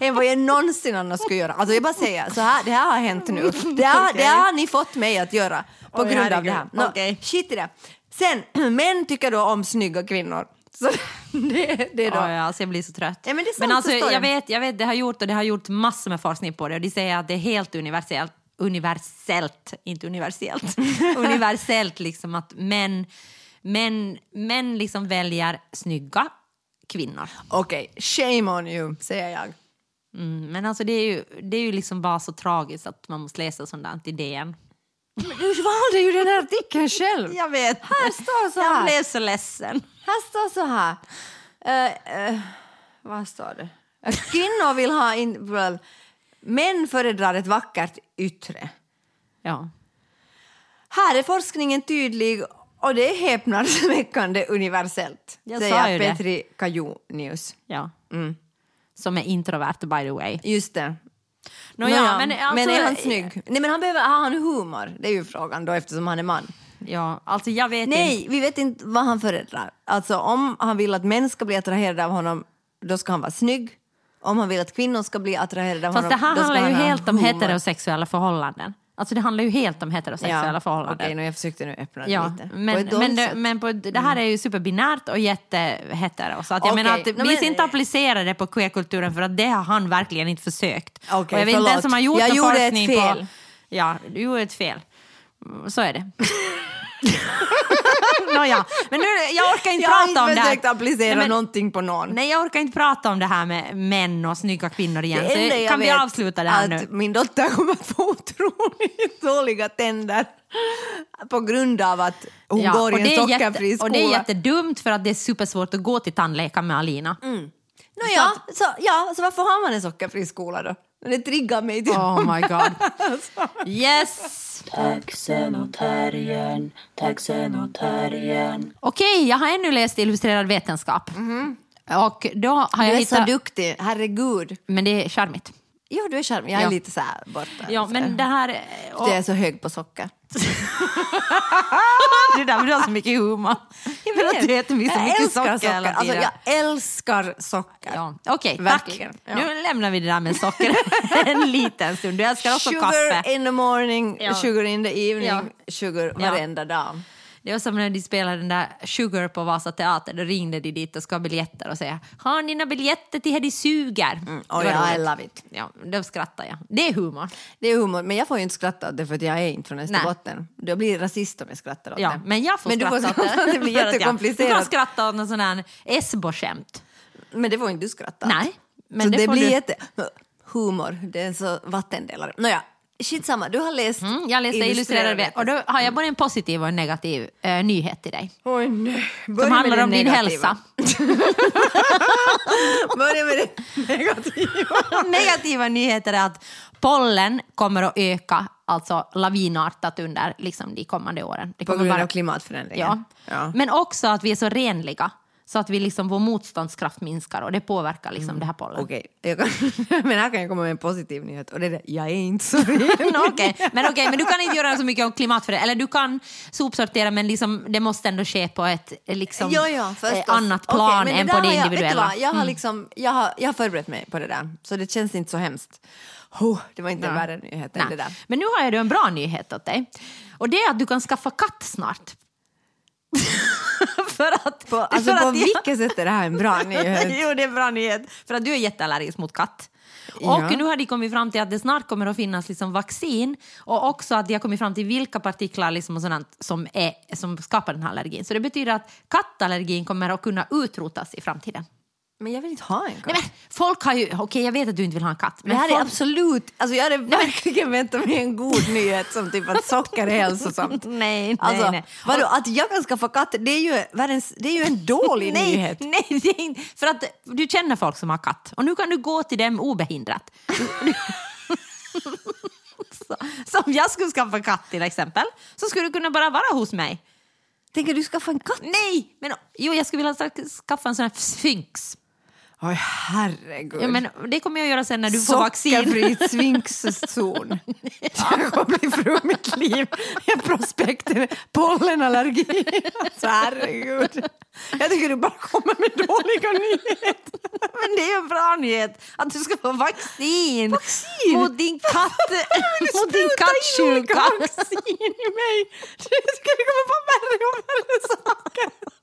[SPEAKER 4] än vad jag någonsin annars skulle göra. Alltså jag bara säger, så här, det här har hänt nu. Det har, det har ni fått mig att göra på
[SPEAKER 3] Oj,
[SPEAKER 4] grund av
[SPEAKER 3] herregud.
[SPEAKER 4] det här. Nå,
[SPEAKER 3] Okej.
[SPEAKER 4] Skit i det. Sen, män tycker då om snygga kvinnor. Så <laughs> det, det är då...
[SPEAKER 3] Ja, ja, alltså jag blir så trött.
[SPEAKER 4] Ja, men det är sant,
[SPEAKER 3] men alltså,
[SPEAKER 4] förstår
[SPEAKER 3] jag,
[SPEAKER 4] jag.
[SPEAKER 3] vet, jag vet, det har gjort och det har gjort massor med forskning på det och de säger att det är helt universellt, universellt, inte
[SPEAKER 4] <laughs>
[SPEAKER 3] universellt, universellt liksom att män, män, män liksom väljer snygga kvinnor.
[SPEAKER 4] Okej, shame on you, säger jag.
[SPEAKER 3] Mm, men alltså det är, ju, det är ju liksom bara så tragiskt att man måste läsa sånt där i DN.
[SPEAKER 4] Du valde ju den här artikeln själv.
[SPEAKER 3] Jag vet.
[SPEAKER 4] Här står så
[SPEAKER 3] Jag
[SPEAKER 4] här.
[SPEAKER 3] blev så ledsen.
[SPEAKER 4] Här står så här. Eh, eh, vad står det? Kvinnor vill ha... In, well, män föredrar ett vackert yttre.
[SPEAKER 3] Ja.
[SPEAKER 4] Här är forskningen tydlig och det är häpnadsväckande universellt,
[SPEAKER 3] Jag
[SPEAKER 4] säger
[SPEAKER 3] sa ju det.
[SPEAKER 4] Petri Kajonius.
[SPEAKER 3] ja.
[SPEAKER 4] Mm.
[SPEAKER 3] Som är introvert by the way.
[SPEAKER 4] Just det.
[SPEAKER 3] Nåja,
[SPEAKER 4] Nåja,
[SPEAKER 3] men alltså-
[SPEAKER 4] är han snygg? Nej, men han behöver, har han humor? Det är ju frågan då eftersom han är man.
[SPEAKER 3] Ja, alltså jag vet inte.
[SPEAKER 4] Nej, vi vet inte vad han föredrar. Alltså om han vill att män ska bli attraherade av honom, då ska han vara snygg. Om han vill att kvinnor ska bli attraherade av
[SPEAKER 3] Fast
[SPEAKER 4] honom,
[SPEAKER 3] det här
[SPEAKER 4] då ska
[SPEAKER 3] handlar ju
[SPEAKER 4] han ha
[SPEAKER 3] helt om
[SPEAKER 4] humor.
[SPEAKER 3] heterosexuella förhållanden. Alltså det handlar ju helt om heterosexuella
[SPEAKER 4] ja.
[SPEAKER 3] förhållanden.
[SPEAKER 4] Okej, nu jag försökte nu öppna det
[SPEAKER 3] Ja,
[SPEAKER 4] lite. På
[SPEAKER 3] men,
[SPEAKER 4] ett
[SPEAKER 3] men,
[SPEAKER 4] dåligt
[SPEAKER 3] det,
[SPEAKER 4] sätt. Mm.
[SPEAKER 3] men på, det här är ju superbinärt och jättehetero. Så att jag
[SPEAKER 4] Okej,
[SPEAKER 3] menar att vi
[SPEAKER 4] nej,
[SPEAKER 3] ska
[SPEAKER 4] men-
[SPEAKER 3] inte applicera det på queerkulturen för att det har han verkligen inte försökt.
[SPEAKER 4] Okej,
[SPEAKER 3] och jag vet inte
[SPEAKER 4] förlåt.
[SPEAKER 3] ens om han gjort
[SPEAKER 4] Jag
[SPEAKER 3] någon
[SPEAKER 4] gjorde ett
[SPEAKER 3] forskning på...
[SPEAKER 4] fel.
[SPEAKER 3] Ja, du gjorde ett fel. Mm, Så är det. <laughs> Nåja, men nu, jag orkar inte
[SPEAKER 4] jag har
[SPEAKER 3] prata om
[SPEAKER 4] inte
[SPEAKER 3] det
[SPEAKER 4] försökt
[SPEAKER 3] här.
[SPEAKER 4] applicera
[SPEAKER 3] Nej, men-
[SPEAKER 4] någonting på någon.
[SPEAKER 3] Nej, jag orkar inte prata om det här med män och snygga kvinnor igen.
[SPEAKER 4] Det enda
[SPEAKER 3] så
[SPEAKER 4] jag
[SPEAKER 3] alltså, kan vi
[SPEAKER 4] vet
[SPEAKER 3] avsluta det här
[SPEAKER 4] att
[SPEAKER 3] nu?
[SPEAKER 4] Min dotter kommer att få otroligt dåliga tänder på grund av att hon går i
[SPEAKER 3] och,
[SPEAKER 4] en
[SPEAKER 3] det är
[SPEAKER 4] sockerfri
[SPEAKER 3] jätte,
[SPEAKER 4] skola.
[SPEAKER 3] och det är jättedumt för att det är supersvårt att gå till tandläkaren med Alina.
[SPEAKER 4] Mm. Nåja, så, ja, så varför har man en sockerfri skola då? Det triggar mig till
[SPEAKER 3] Oh my god.
[SPEAKER 4] <laughs>
[SPEAKER 3] Yes!
[SPEAKER 2] Taxenotarian, taxenotarian,
[SPEAKER 3] Okej, jag har ännu läst Illustrerad vetenskap. Och då har
[SPEAKER 4] Mhm. Du
[SPEAKER 3] jag
[SPEAKER 4] är så
[SPEAKER 3] hittat...
[SPEAKER 4] duktig, herregud.
[SPEAKER 3] Men det är charmigt.
[SPEAKER 4] Jo, du är charmig. Jag är
[SPEAKER 3] Ja.
[SPEAKER 4] lite så här borta.
[SPEAKER 3] Ja, men det här... Och,
[SPEAKER 4] Jag är så hög på socker.
[SPEAKER 3] <laughs> det där med du har så mycket humor. För
[SPEAKER 4] <laughs>
[SPEAKER 3] att du äter mycket, så
[SPEAKER 4] Jag
[SPEAKER 3] mycket
[SPEAKER 4] älskar
[SPEAKER 3] socker hela
[SPEAKER 4] Alltså,
[SPEAKER 3] tiden.
[SPEAKER 4] jag älskar socker.
[SPEAKER 3] Ja, Okej, tack.
[SPEAKER 4] Verkligen, ja.
[SPEAKER 3] Nu lämnar vi det där med socker <laughs> en liten stund. Du älskar också
[SPEAKER 4] Sugar
[SPEAKER 3] kaffe.
[SPEAKER 4] in the morning,
[SPEAKER 3] Ja.
[SPEAKER 4] sugar in the evening,
[SPEAKER 3] Ja.
[SPEAKER 4] sugar
[SPEAKER 3] Ja.
[SPEAKER 4] varenda dag.
[SPEAKER 3] Det var som när de spelade den där Sugar på Vasa Teater. Då ringde de dit och ska ha biljetter och säga Har ni några biljetter till här de suger? Mm,
[SPEAKER 4] Oh, ja, I love it.
[SPEAKER 3] Ja, då skrattar jag. Det är humor.
[SPEAKER 4] Det är humor, men jag får ju inte skratta åt det för att jag är inte från Österbotten. Jag blir rasist om jag skrattar åt
[SPEAKER 3] Ja,
[SPEAKER 4] det.
[SPEAKER 3] men jag får
[SPEAKER 4] men du
[SPEAKER 3] skratta
[SPEAKER 4] får
[SPEAKER 3] åt det.
[SPEAKER 4] <laughs>
[SPEAKER 3] För
[SPEAKER 4] det blir
[SPEAKER 3] att jag- Du får
[SPEAKER 4] jättekomplicerat.
[SPEAKER 3] skratta åt någon sån här Esbo-skämt.
[SPEAKER 4] Men det får inte du skratta åt.
[SPEAKER 3] Nej, men
[SPEAKER 4] så
[SPEAKER 3] det
[SPEAKER 4] det,
[SPEAKER 3] får
[SPEAKER 4] blir
[SPEAKER 3] du-
[SPEAKER 4] jätte... Humor, det är så vattendelare. Nåja, skitsamma, du har läst
[SPEAKER 3] Mm, jag läste illustrerad vet. och då har jag både en positiv och en negativ eh, nyhet till dig.
[SPEAKER 4] Oj, nej. Börja
[SPEAKER 3] Som
[SPEAKER 4] med
[SPEAKER 3] handlar
[SPEAKER 4] det
[SPEAKER 3] om din
[SPEAKER 4] negativa.
[SPEAKER 3] hälsa.
[SPEAKER 4] Börja med det negativa.
[SPEAKER 3] negativa nyheter är att pollen kommer att öka alltså lavinartat under liksom, de kommande åren. Det
[SPEAKER 4] På
[SPEAKER 3] kommer
[SPEAKER 4] grund
[SPEAKER 3] vara-
[SPEAKER 4] av klimatförändringen.
[SPEAKER 3] Ja. Mm. Men också att vi är så renliga så att vi liksom, vår motståndskraft minskar och det påverkar liksom, det här pollen.
[SPEAKER 4] Mm, Okej, jag kan, <laughs> men här kan jag komma med en positiv nyhet och det är det, jag är inte så ren.
[SPEAKER 3] Nå, <laughs> Mm, okej.
[SPEAKER 4] <laughs>
[SPEAKER 3] Men, okej, men du kan inte göra så mycket om klimatförändring. Eller du kan sopsortera men liksom, det måste ändå ske på ett eh, liksom,
[SPEAKER 4] ja, ja,
[SPEAKER 3] eh,
[SPEAKER 4] förstås.
[SPEAKER 3] annat
[SPEAKER 4] Okej,
[SPEAKER 3] plan
[SPEAKER 4] men
[SPEAKER 3] än
[SPEAKER 4] där
[SPEAKER 3] på det
[SPEAKER 4] har jag-
[SPEAKER 3] individuella. Mm.
[SPEAKER 4] Vet du vad, jag, har liksom, jag, har, jag har förberett mig på det där, så det känns inte så hemskt. Oh, det var inte en värre nyhet än
[SPEAKER 3] Nej.
[SPEAKER 4] det där.
[SPEAKER 3] Men nu har jag då en bra nyhet åt dig. Och det är att du kan skaffa katt snart. <laughs> för att...
[SPEAKER 4] På, alltså,
[SPEAKER 3] för
[SPEAKER 4] på
[SPEAKER 3] att jag-
[SPEAKER 4] vilket sätt är det här en <laughs> bra nyhet?
[SPEAKER 3] <laughs> Jo, det är en bra nyhet. För att du är jätteallergisk mot katt. Och
[SPEAKER 4] Ja.
[SPEAKER 3] nu har de kommit fram till att det snart kommer att finnas liksom vaccin och också att de har kommit fram till vilka partiklar liksom och sådant som, är, som skapar den här allergin. Så det betyder att kattallergin kommer att kunna utrotas i framtiden.
[SPEAKER 4] Men jag vill inte ha en
[SPEAKER 3] Nej,
[SPEAKER 4] katt.
[SPEAKER 3] men folk har ju... Okej, jag vet att du inte vill ha en katt. Men
[SPEAKER 4] det här
[SPEAKER 3] folk,
[SPEAKER 4] är absolut, alltså jag hade verkligen väntat mig en god nyhet som typ att socker är <laughs>
[SPEAKER 3] <laughs>
[SPEAKER 4] hälsosamt.
[SPEAKER 3] Nej, nej,
[SPEAKER 4] Alltså,
[SPEAKER 3] nej.
[SPEAKER 4] Vadå, att jag kan skaffa katt, det är ju, världens, det är ju en <laughs> dålig
[SPEAKER 3] Nej, <laughs>
[SPEAKER 4] nyhet.
[SPEAKER 3] nej det är inte, för att du känner folk som har katt och nu kan du gå till dem obehindrat. <laughs> Så- så om jag skulle skaffa katt till exempel så skulle du kunna bara vara hos mig.
[SPEAKER 4] Tänker du skaffa en katt?
[SPEAKER 3] Nej! Men, jo, jag skulle vilja ska- skaffa en sån här sphinx.
[SPEAKER 4] Oj, herregud.
[SPEAKER 3] Ja, men det kommer jag göra sen när du får
[SPEAKER 4] <laughs>
[SPEAKER 3] vaccin.
[SPEAKER 4] Sockerfri svinkzon. Jag kommer bli fru mitt liv. Jag prospekten pollenallergi. <laughs> Alltså, herregud. Jag tycker du bara kommer med dåliga nyheter.
[SPEAKER 3] <laughs> Men det är en bra nyhet att du ska få vaccin,
[SPEAKER 4] Vaccin?
[SPEAKER 3] mot din katt <laughs> mot din
[SPEAKER 4] Spruta in olika
[SPEAKER 3] kattsjuka.
[SPEAKER 4] vaccin i mig. <laughs> Det skulle komma på värre och värre saker.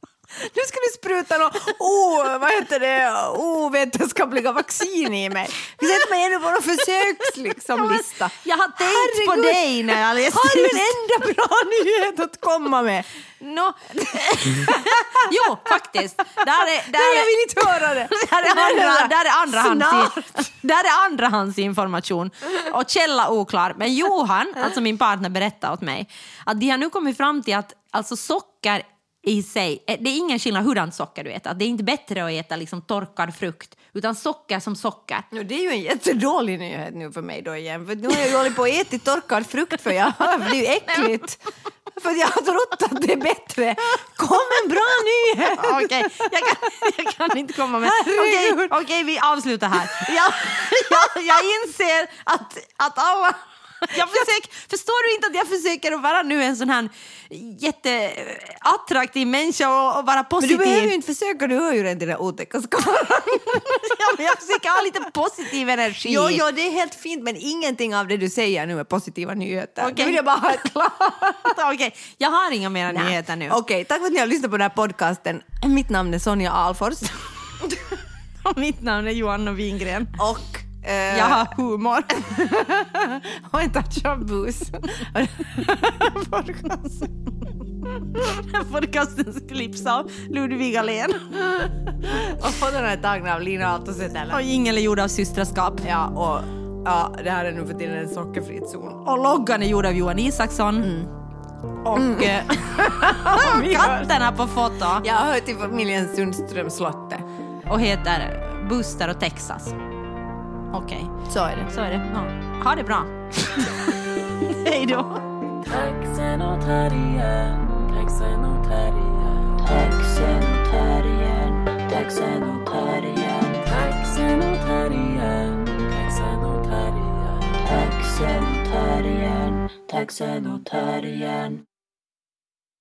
[SPEAKER 4] Nu ska du spruta något, oh, vad heter det, ovetenskapliga vaccin i mig. Sätt mig ännu på någon försöks, liksom, lista.
[SPEAKER 3] Jag har tänkt på
[SPEAKER 4] Herregud.
[SPEAKER 3] dig när jag läste
[SPEAKER 4] Har du
[SPEAKER 3] ut.
[SPEAKER 4] en enda bra nyhet att komma med?
[SPEAKER 3] Nå. jo, faktiskt. Där
[SPEAKER 4] <laughs>
[SPEAKER 3] är, där
[SPEAKER 4] Nej, jag
[SPEAKER 3] är,
[SPEAKER 4] vill inte höra <laughs> det.
[SPEAKER 3] där är, andra, där är andrahands-
[SPEAKER 4] Snart.
[SPEAKER 3] där är andrahandsinformation och källa oklar. Men Johan, alltså min partner, berättade åt mig att de har nu kommit fram till att alltså socker i sig, eh, det är ingen skillnad hurdant socker du äter. Att Det är inte bättre att äta liksom torkad frukt, utan socker som socker.
[SPEAKER 4] Nu, det är ju en jättedålig nyhet nu för mig då igen. För nu har jag ju hållit på och ätit torkad frukt för jag för det är ju äckligt. För jag har trott att det är bättre. Kom en bra nyhet!
[SPEAKER 3] Okej, jag, kan, jag kan inte komma med... Okej,
[SPEAKER 4] Herregud.
[SPEAKER 3] okej, vi avslutar här. Jag, jag, jag inser att, att alla... Jag försöker, förstår du inte att jag försöker att vara nu en sån här jätteattraktiv människa och, och vara
[SPEAKER 4] Men
[SPEAKER 3] positiv?
[SPEAKER 4] du behöver ju inte försöka, du hör ju redan dina otäcka skaror.
[SPEAKER 3] ja, men jag försöker ha lite positiv energi.
[SPEAKER 4] Jo, jo, det är helt fint, men ingenting av det du säger nu är positiva nyheter.
[SPEAKER 3] Okej.
[SPEAKER 4] Det vill jag bara <laughs> ha klart.
[SPEAKER 3] <laughs> Okej, jag har inga mer nyheter nu.
[SPEAKER 4] Okej, tack för att ni har lyssnat på den här podcasten. Mitt namn är Sonja Alfors
[SPEAKER 3] Och <laughs> mitt namn är Johanna Wingren.
[SPEAKER 4] <laughs> och... eh,
[SPEAKER 3] Jag har <laughs> humor.
[SPEAKER 4] Ha en touch av bus.
[SPEAKER 3] <laughs> Podcasten klipps av Ludvig Ahlén.
[SPEAKER 4] <laughs> och podden är tagen av Lina Aaltosetälä.
[SPEAKER 3] Och ingen är gjord av systraskap.
[SPEAKER 4] Ja, och ja, det här är nu för tiden en sockerfri zon.
[SPEAKER 3] Och loggan är gjord av Johan Isaksson. Och, eh, <laughs> och
[SPEAKER 4] Vi hörs.
[SPEAKER 3] katterna på foto.
[SPEAKER 4] Jag hör till familjen Sundström Slotte.
[SPEAKER 3] Och heter Buster och Texas. Okej,
[SPEAKER 4] Så är det.
[SPEAKER 3] så är det. Ja. Ha det <laughs> bra. Hej då.
[SPEAKER 1] Taxenotarian, taxenotarian,
[SPEAKER 2] Texenotarian, Texenotarian,
[SPEAKER 1] taxenotarian, taxenotarian.
[SPEAKER 2] Texenotarian, Texenotarian.